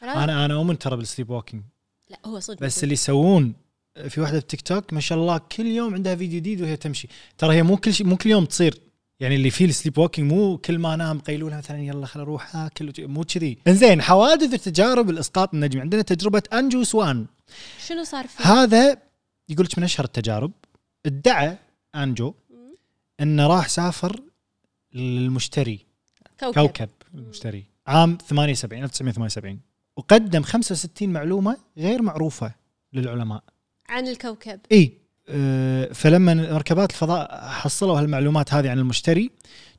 B: خلاص؟
A: انا انا اؤمن ترى بالسليب ووكينج
B: لا هو صدق
A: بس اللي يسوون آه، في واحده بتيك توك ما شاء الله كل يوم عندها فيديو جديد وهي تمشي ترى هي مو كل شيء مو كل يوم تصير يعني اللي فيه السليب ووكينج مو كل ما انام قيلوله مثلا يلا خل اروح اكل وج- مو كذي انزين حوادث وتجارب الاسقاط النجمي عندنا تجربه انجو سوان
B: شنو صار فيه؟
A: هذا يقول لك من اشهر التجارب ادعى انجو انه راح سافر للمشتري
B: كوكب,
A: كوكب المشتري عام 78 1978 وقدم 65 معلومه غير معروفه للعلماء
B: عن الكوكب
A: اي أه، فلما مركبات الفضاء حصلوا هالمعلومات هذه عن المشتري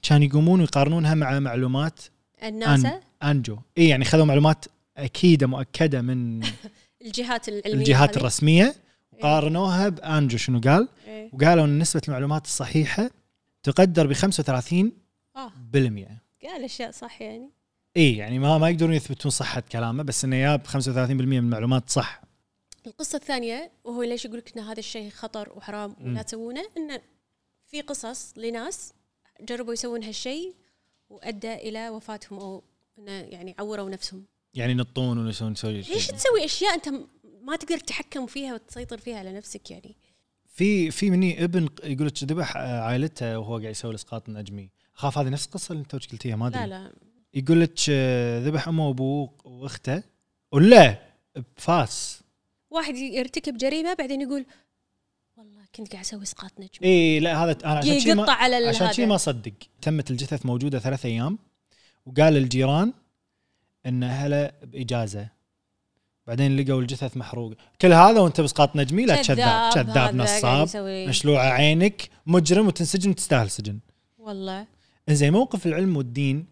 A: كان يقومون ويقارنونها مع معلومات
B: الناسا
A: انجو اي يعني خذوا معلومات اكيده مؤكده من
B: الجهات العلميه
A: الجهات
B: هذه.
A: الرسميه وقارنوها بانجو شنو قال
B: إيه.
A: وقالوا ان نسبه المعلومات الصحيحه تقدر ب 35%
B: اه قال اشياء صح يعني
A: اي يعني ما ما يقدرون يثبتون صحه كلامه بس انه ياب 35% من المعلومات صح
B: القصة الثانية وهو ليش يقول لك ان هذا الشيء خطر وحرام ولا تسوونه انه في قصص لناس جربوا يسوون هالشيء وادى الى وفاتهم او انه يعني عوروا نفسهم.
A: يعني ينطون ويسوون يسوي
B: ليش تسوي اشياء انت م- ما تقدر تتحكم فيها وتسيطر فيها على نفسك يعني؟
A: في في مني ابن ق- يقول لك ذبح آه، عائلته وهو قاعد يسوي الاسقاط النجمي اخاف هذه نفس القصه اللي انت وش قلتيها ما ادري
B: لا لا
A: يقول لك آه، ذبح امه وابوه واخته ولا بفاس
B: واحد يرتكب جريمة بعدين يقول والله كنت قاعد اسوي اسقاط نجم
A: اي لا هذا انا إيه، عشان شي
B: يقطع
A: ما
B: على ال-
A: عشان شي
B: هذا.
A: ما صدق تمت الجثث موجوده ثلاث ايام وقال للجيران ان اهله باجازه بعدين لقوا الجثث محروقه كل هذا وانت باسقاط نجمي لا كذاب
B: كذاب، هذا
A: كذاب
B: قاعد
A: نصاب
B: يسوي-
A: مشلوعه عينك مجرم وتنسجن وتستاهل سجن
B: والله
A: زين موقف العلم والدين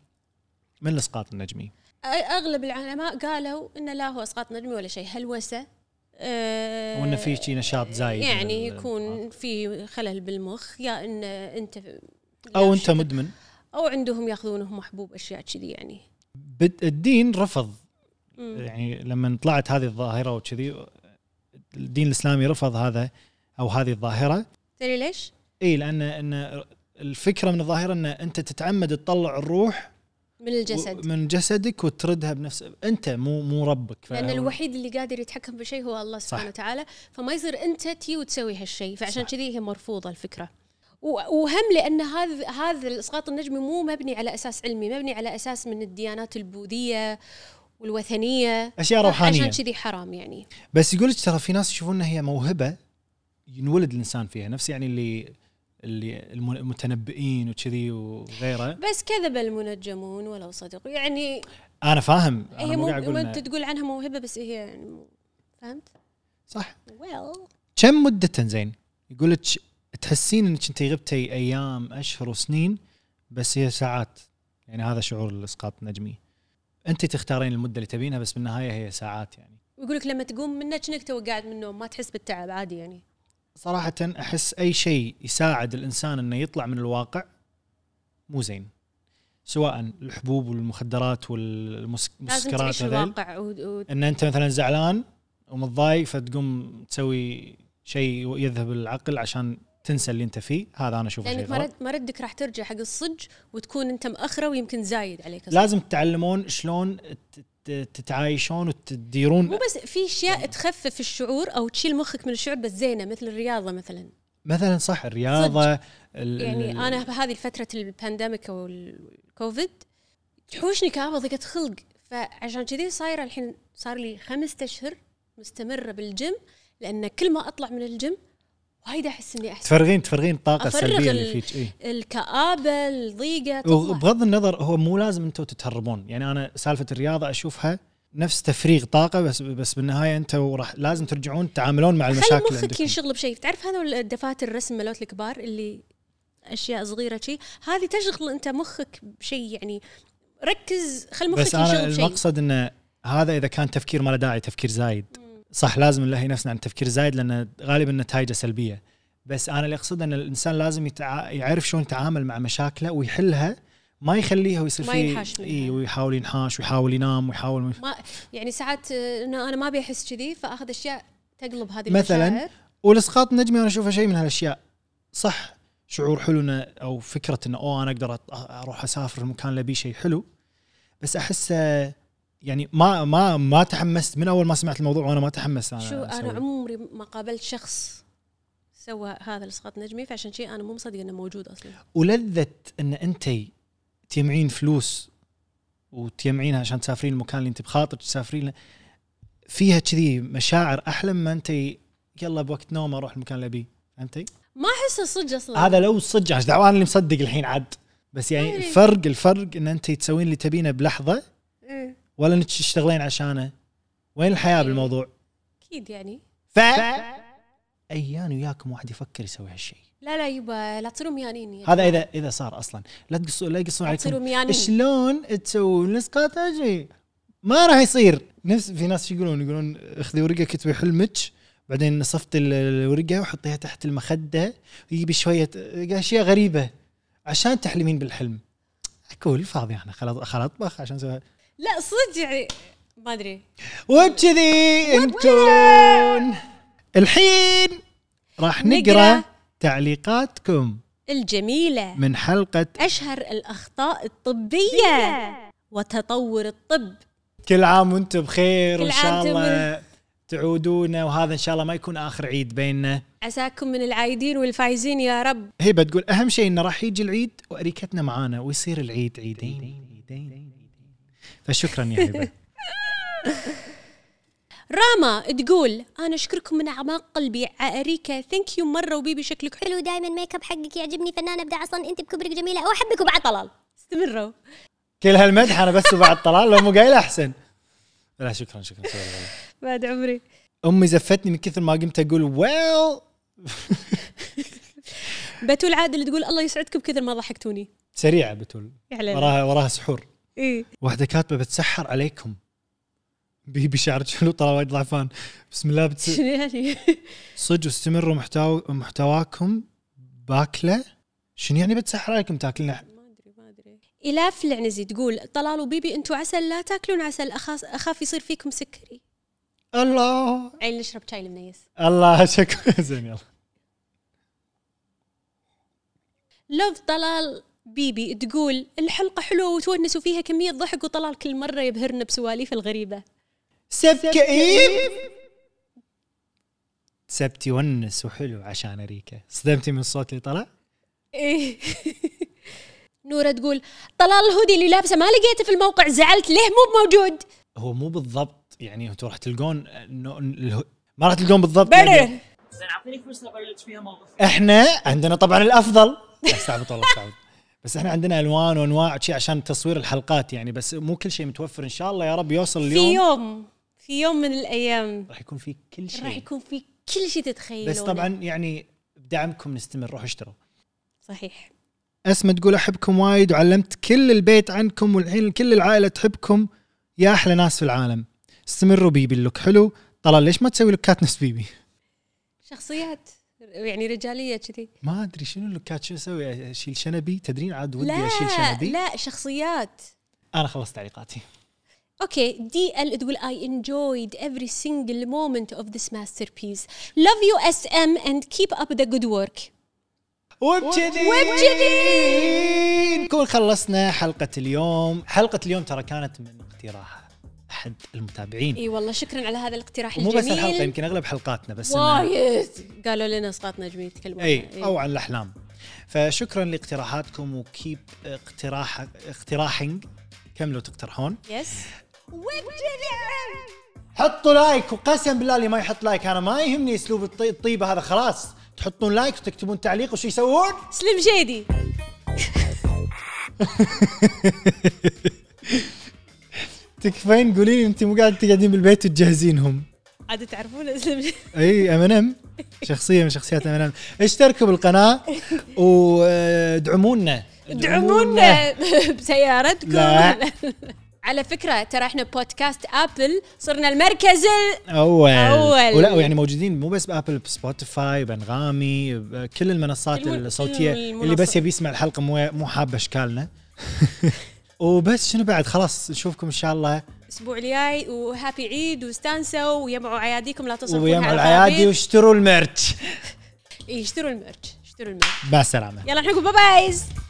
A: من الاسقاط النجمي
B: أ- اغلب العلماء قالوا انه لا هو اسقاط نجمي ولا شيء هلوسة أه
A: وانه في شي نشاط زايد آه.
B: يعني
A: من ال-
B: يكون في خلل بالمخ يا ان انت
A: او انت
B: يا
A: مدمن
B: او عندهم ياخذونهم محبوب اشياء كذي يعني
A: بد- الدين رفض يعني لما طلعت هذه الظاهره وكذي الدين الاسلامي رفض هذا او هذه الظاهره
B: تدري ليش؟
A: اي لان ان الفكره من الظاهره ان انت تتعمد تطلع الروح
B: من الجسد
A: من جسدك وتردها بنفس انت مو مو ربك
B: لان
A: فهو-
B: الوحيد اللي قادر يتحكم بشيء هو الله سبحانه
A: صح.
B: وتعالى فما يصير انت تي وتسوي هالشيء فعشان كذي هي مرفوضه الفكره و- وهم لان هذا هذا الاسقاط النجمي مو مبني على اساس علمي مبني على اساس من الديانات البوذيه والوثنيه
A: اشياء روحانيه
B: عشان كذي حرام يعني
A: بس يقول لك ترى في ناس يشوفون انها هي موهبه ينولد الانسان فيها نفس يعني اللي اللي الم- المتنبئين وكذي وغيره
B: بس كذب المنجمون ولو صدقوا يعني
A: انا فاهم انا
B: هي
A: مو
B: مو
A: قاعد
B: مو انت
A: اقول إنه-
B: تقول عنها موهبه بس هي يعني مو- فهمت؟
A: صح
B: ويل
A: كم مدة زين يقول لك تحسين انك انت غبتي ايام اشهر وسنين بس هي ساعات يعني هذا شعور الاسقاط النجمي انت تختارين المده اللي تبينها بس بالنهايه هي ساعات يعني
B: ويقول لك لما تقوم منك انك تو قاعد من النوم ما تحس بالتعب عادي يعني
A: صراحه احس اي شيء يساعد الانسان انه يطلع من الواقع مو زين سواء الحبوب والمخدرات
B: لازم
A: والمسكرات
B: تعيش
A: هذيل
B: الواقع و... و...
A: ان انت مثلا زعلان ومتضايق فتقوم تسوي شيء يذهب العقل عشان تنسى اللي انت فيه هذا انا اشوفه شيء
B: لانك ما
A: غلط
B: رد- ما ردك راح ترجع حق الصج وتكون انت مأخره ويمكن زايد عليك الصج.
A: لازم تتعلمون شلون ت- ت- تتعايشون
B: مو
A: وتديرون
B: بس في اشياء تخفف الشعور او تشيل مخك من الشعور بس زينه مثل الرياضه مثلا
A: مثلا صح الرياضه ال-
B: يعني
A: ال-
B: انا بهذه فتره البانديميك او الكوفيد تحوشني كابه ضيقه خلق فعشان كذي صايره الحين صار لي خمسة اشهر مستمره بالجيم لان كل ما اطلع من الجيم وايد احس اني احسن
A: تفرغين تفرغين الطاقه
B: أفرغ
A: السلبيه اللي
B: ال-
A: فيك إيه؟
B: الكآبه الضيقه تطلع.
A: وبغض النظر هو مو لازم انتم تتهربون يعني انا سالفه الرياضه اشوفها نفس تفريغ طاقه بس بس بالنهايه انت وراح لازم ترجعون تتعاملون مع
B: خلي
A: المشاكل
B: مخك
A: عندكم
B: ينشغل بشيء تعرف هذول الدفاتر الرسم ملوت الكبار اللي اشياء صغيره شيء هذه تشغل انت مخك بشيء يعني ركز خل مخك
A: بس انا
B: ينشغل بشيء
A: المقصد انه هذا اذا كان تفكير ما له داعي تفكير زايد صح لازم نلهي نفسنا عن التفكير زايد لان غالبا نتائجه سلبيه بس انا اللي اقصد ان الانسان لازم يتع... يعرف شلون يتعامل مع مشاكله ويحلها ما يخليها ويصير
B: ما
A: فيه
B: ينحاش منها.
A: اي ويحاول ينحاش ويحاول ينام ويحاول
B: ما يعني ساعات آه، انه انا ما ابي احس كذي فاخذ اشياء تقلب هذه
A: مثلاً؟
B: المشاعر
A: والاسقاط النجمي انا اشوفه شيء من هالاشياء صح شعور حلو إنه- او فكره انه اوه انا اقدر أط- اروح اسافر المكان اللي أبيه شيء حلو بس احسه يعني ما ما ما تحمست من اول ما سمعت الموضوع وانا ما تحمست انا
B: شو انا
A: أسوي.
B: عمري ما قابلت شخص سوى هذا الاسقاط نجمي فعشان شيء انا مو مصدقه انه موجود اصلا
A: ولذه ان انت تجمعين فلوس وتجمعينها عشان تسافرين المكان اللي انت بخاطرك تسافرين له فيها كذي مشاعر احلى ما انت يلا بوقت نوم اروح المكان اللي ابيه فهمتي؟
B: ما احسه صدق اصلا
A: هذا لو صدق عشان دعوة انا اللي مصدق الحين عاد بس يعني
B: إيه.
A: الفرق الفرق ان انت تسوين اللي تبينه بلحظه
B: إيه.
A: ولا انك تشتغلين عشانه وين الحياه بالموضوع؟
B: اكيد يعني
A: ف ايان وياكم واحد يفكر يسوي هالشيء
B: لا لا يبا لا تصيروا ميانين يعني.
A: هذا اذا اذا صار اصلا لا تقصوا لا يقصون
B: لا تصيروا
A: عليكم
B: ميانين
A: شلون تسوون اسقاط نجمي؟ ما راح يصير نفس في ناس شو يقولون يقولون اخذي ورقه كتبي حلمك بعدين نصفتي ال- الورقه وحطيها تحت المخده ويجي شويه اشياء غريبه عشان تحلمين بالحلم اقول فاضي انا خلاص خل اطبخ عشان اسوي
B: لا صدق يعني ما ادري
A: وبكذي انتون الحين راح نقرا
B: نقرأ.
A: تعليقاتكم
B: الجميله
A: من حلقه
B: اشهر الاخطاء الطبيه وتطور الطب
A: كل عام وانتم بخير
B: كل
A: وان شاء
B: عام
A: الله تعودون وهذا ان شاء الله ما يكون اخر عيد بيننا
B: عساكم من العايدين والفايزين يا رب
A: هبه تقول اهم شيء انه راح يجي العيد واريكتنا معانا ويصير العيد عيدين فشكرا يا
B: [laughs]
A: هبه
B: راما تقول انا اشكركم من اعماق قلبي عاريكا ثانك يو مره وبيبي شكلك حلو
D: حلو دائما ميك اب حقك يعجبني فنانه ابداع اصلا انت بكبرك جميله واحبك وبعد طلال
B: استمروا
A: كل هالمدح انا بس بعد طلال لو مو قايل احسن لا شكرا شكرا سوري والله.
B: بعد عمري
A: امي زفتني من كثر ما قمت اقول ويل
B: بتول عادل تقول الله يسعدكم كثر ما ضحكتوني
A: سريعه بتقول
B: يا حلال إيه.
A: وراها وراها سحور
B: اي
A: واحده كاتبه بتسحر عليكم بيبي شعرك حلو طلع وايد ضعفان بسم الله بتس...
B: شنو يعني [laughs]
A: صدق استمروا محتوى محتواكم باكله شنو يعني بتسحر عليكم تاكلنا
B: ما ادري ما ادري الاف العنزي تقول طلال وبيبي انتم عسل لا تاكلون عسل أخاف, اخاف يصير فيكم سكري
A: الله
B: عين نشرب شاي المنيس
A: الله شكرا [laughs] زين يلا
B: لوف طلال بيبي تقول الحلقة حلوة وتونسوا فيها كمية ضحك وطلال كل مرة يبهرنا بسواليف الغريبة
A: سب كئيب سبتي ونس وحلو عشان اريكه صدمتي من الصوت اللي طلع
B: إيه [laughs] نورة تقول طلال الهودي اللي لابسه ما لقيته في الموقع زعلت ليه مو موجود
A: هو مو بالضبط يعني انتم راح تلقون إنه اله- ما راح تلقون بالضبط يعني
B: برر
F: زين اعطيني فرصه ابلش فيها موقف
A: احنا عندنا طبعا الافضل لا، [laughs] استعبط والله استعبط بس احنا عندنا الوان وانواع شيء عشان تصوير الحلقات يعني بس مو كل شيء متوفر ان شاء الله يا رب يوصل
B: في
A: اليوم
B: يوم في يوم من الأيام
A: راح يكون في كل شيء
B: راح يكون في كل شيء تتخيلونه
A: بس طبعا يعني بدعمكم نستمر روحوا اشتروا
B: صحيح
A: اسمه تقول احبكم وايد وعلمت كل البيت عنكم والحين كل العائله تحبكم يا احلى ناس في العالم استمروا بيبي اللوك حلو طلال ليش ما تسوي لوكات نفس بيبي
B: شخصيات يعني رجاليه كذي
A: ما ادري شنو اللي كانت شو اسوي اشيل شنبي تدرين عاد ودي
B: لا
A: اشيل شنبي
B: لا شخصيات
A: انا خلصت تعليقاتي
B: اوكي دي ال تقول I enjoyed every single moment of this masterpiece love you SM and keep up the good work
A: وبكذي وبكذي نكون خلصنا حلقة اليوم حلقة اليوم ترى كانت من اقتراح أحد المتابعين
B: اي والله شكرا على هذا الاقتراح
A: ومو بس الحلقة
B: الجميل
A: يمكن أغلب حلقاتنا بس إنه-
B: وايد قالوا لنا اسقاطنا جميل تكلموا
A: أي أو عن الأحلام فشكرا لاقتراحاتكم وكيب اقتراح اقتراحنج كملوا تقترحون
B: يس
A: حطوا لايك وقسم بالله اللي ما يحط لايك انا ما يهمني اسلوب الطي- الطيبه هذا خلاص تحطون لايك وتكتبون تعليق وش يسوون؟
B: سلم جيدي
A: تكفين قولي لي انت مو قاعد تقعدين بالبيت وتجهزينهم
B: عاد تعرفون سلم جيدي
A: اي ام ان ام شخصيه من شخصيات ام ان ام اشتركوا آه، بالقناه وادعمونا
B: ادعمونا [laughs] بسيارتكم
A: لا.
B: [laughs] على فكره ترى احنا بودكاست ابل صرنا المركز ال...
A: اول
B: أول.
A: ولا يعني موجودين مو بس بابل بسبوتيفاي بانغامي بكل المنصات
B: الم-
A: الصوتيه
B: المنصات.
A: اللي بس يبي يسمع الحلقه مو مو حاب
B: [laughs]
A: اشكالنا وبس شنو بعد خلاص نشوفكم ان شاء الله
B: الاسبوع الجاي وهابي عيد واستانسوا ويمعوا عياديكم لا تصرفون
A: ويجمعوا العيادي واشتروا المرت
B: إيه، اشتروا الميرش اشتروا الميرش
A: مع السلامه
B: يلا نحن نقول باي بايز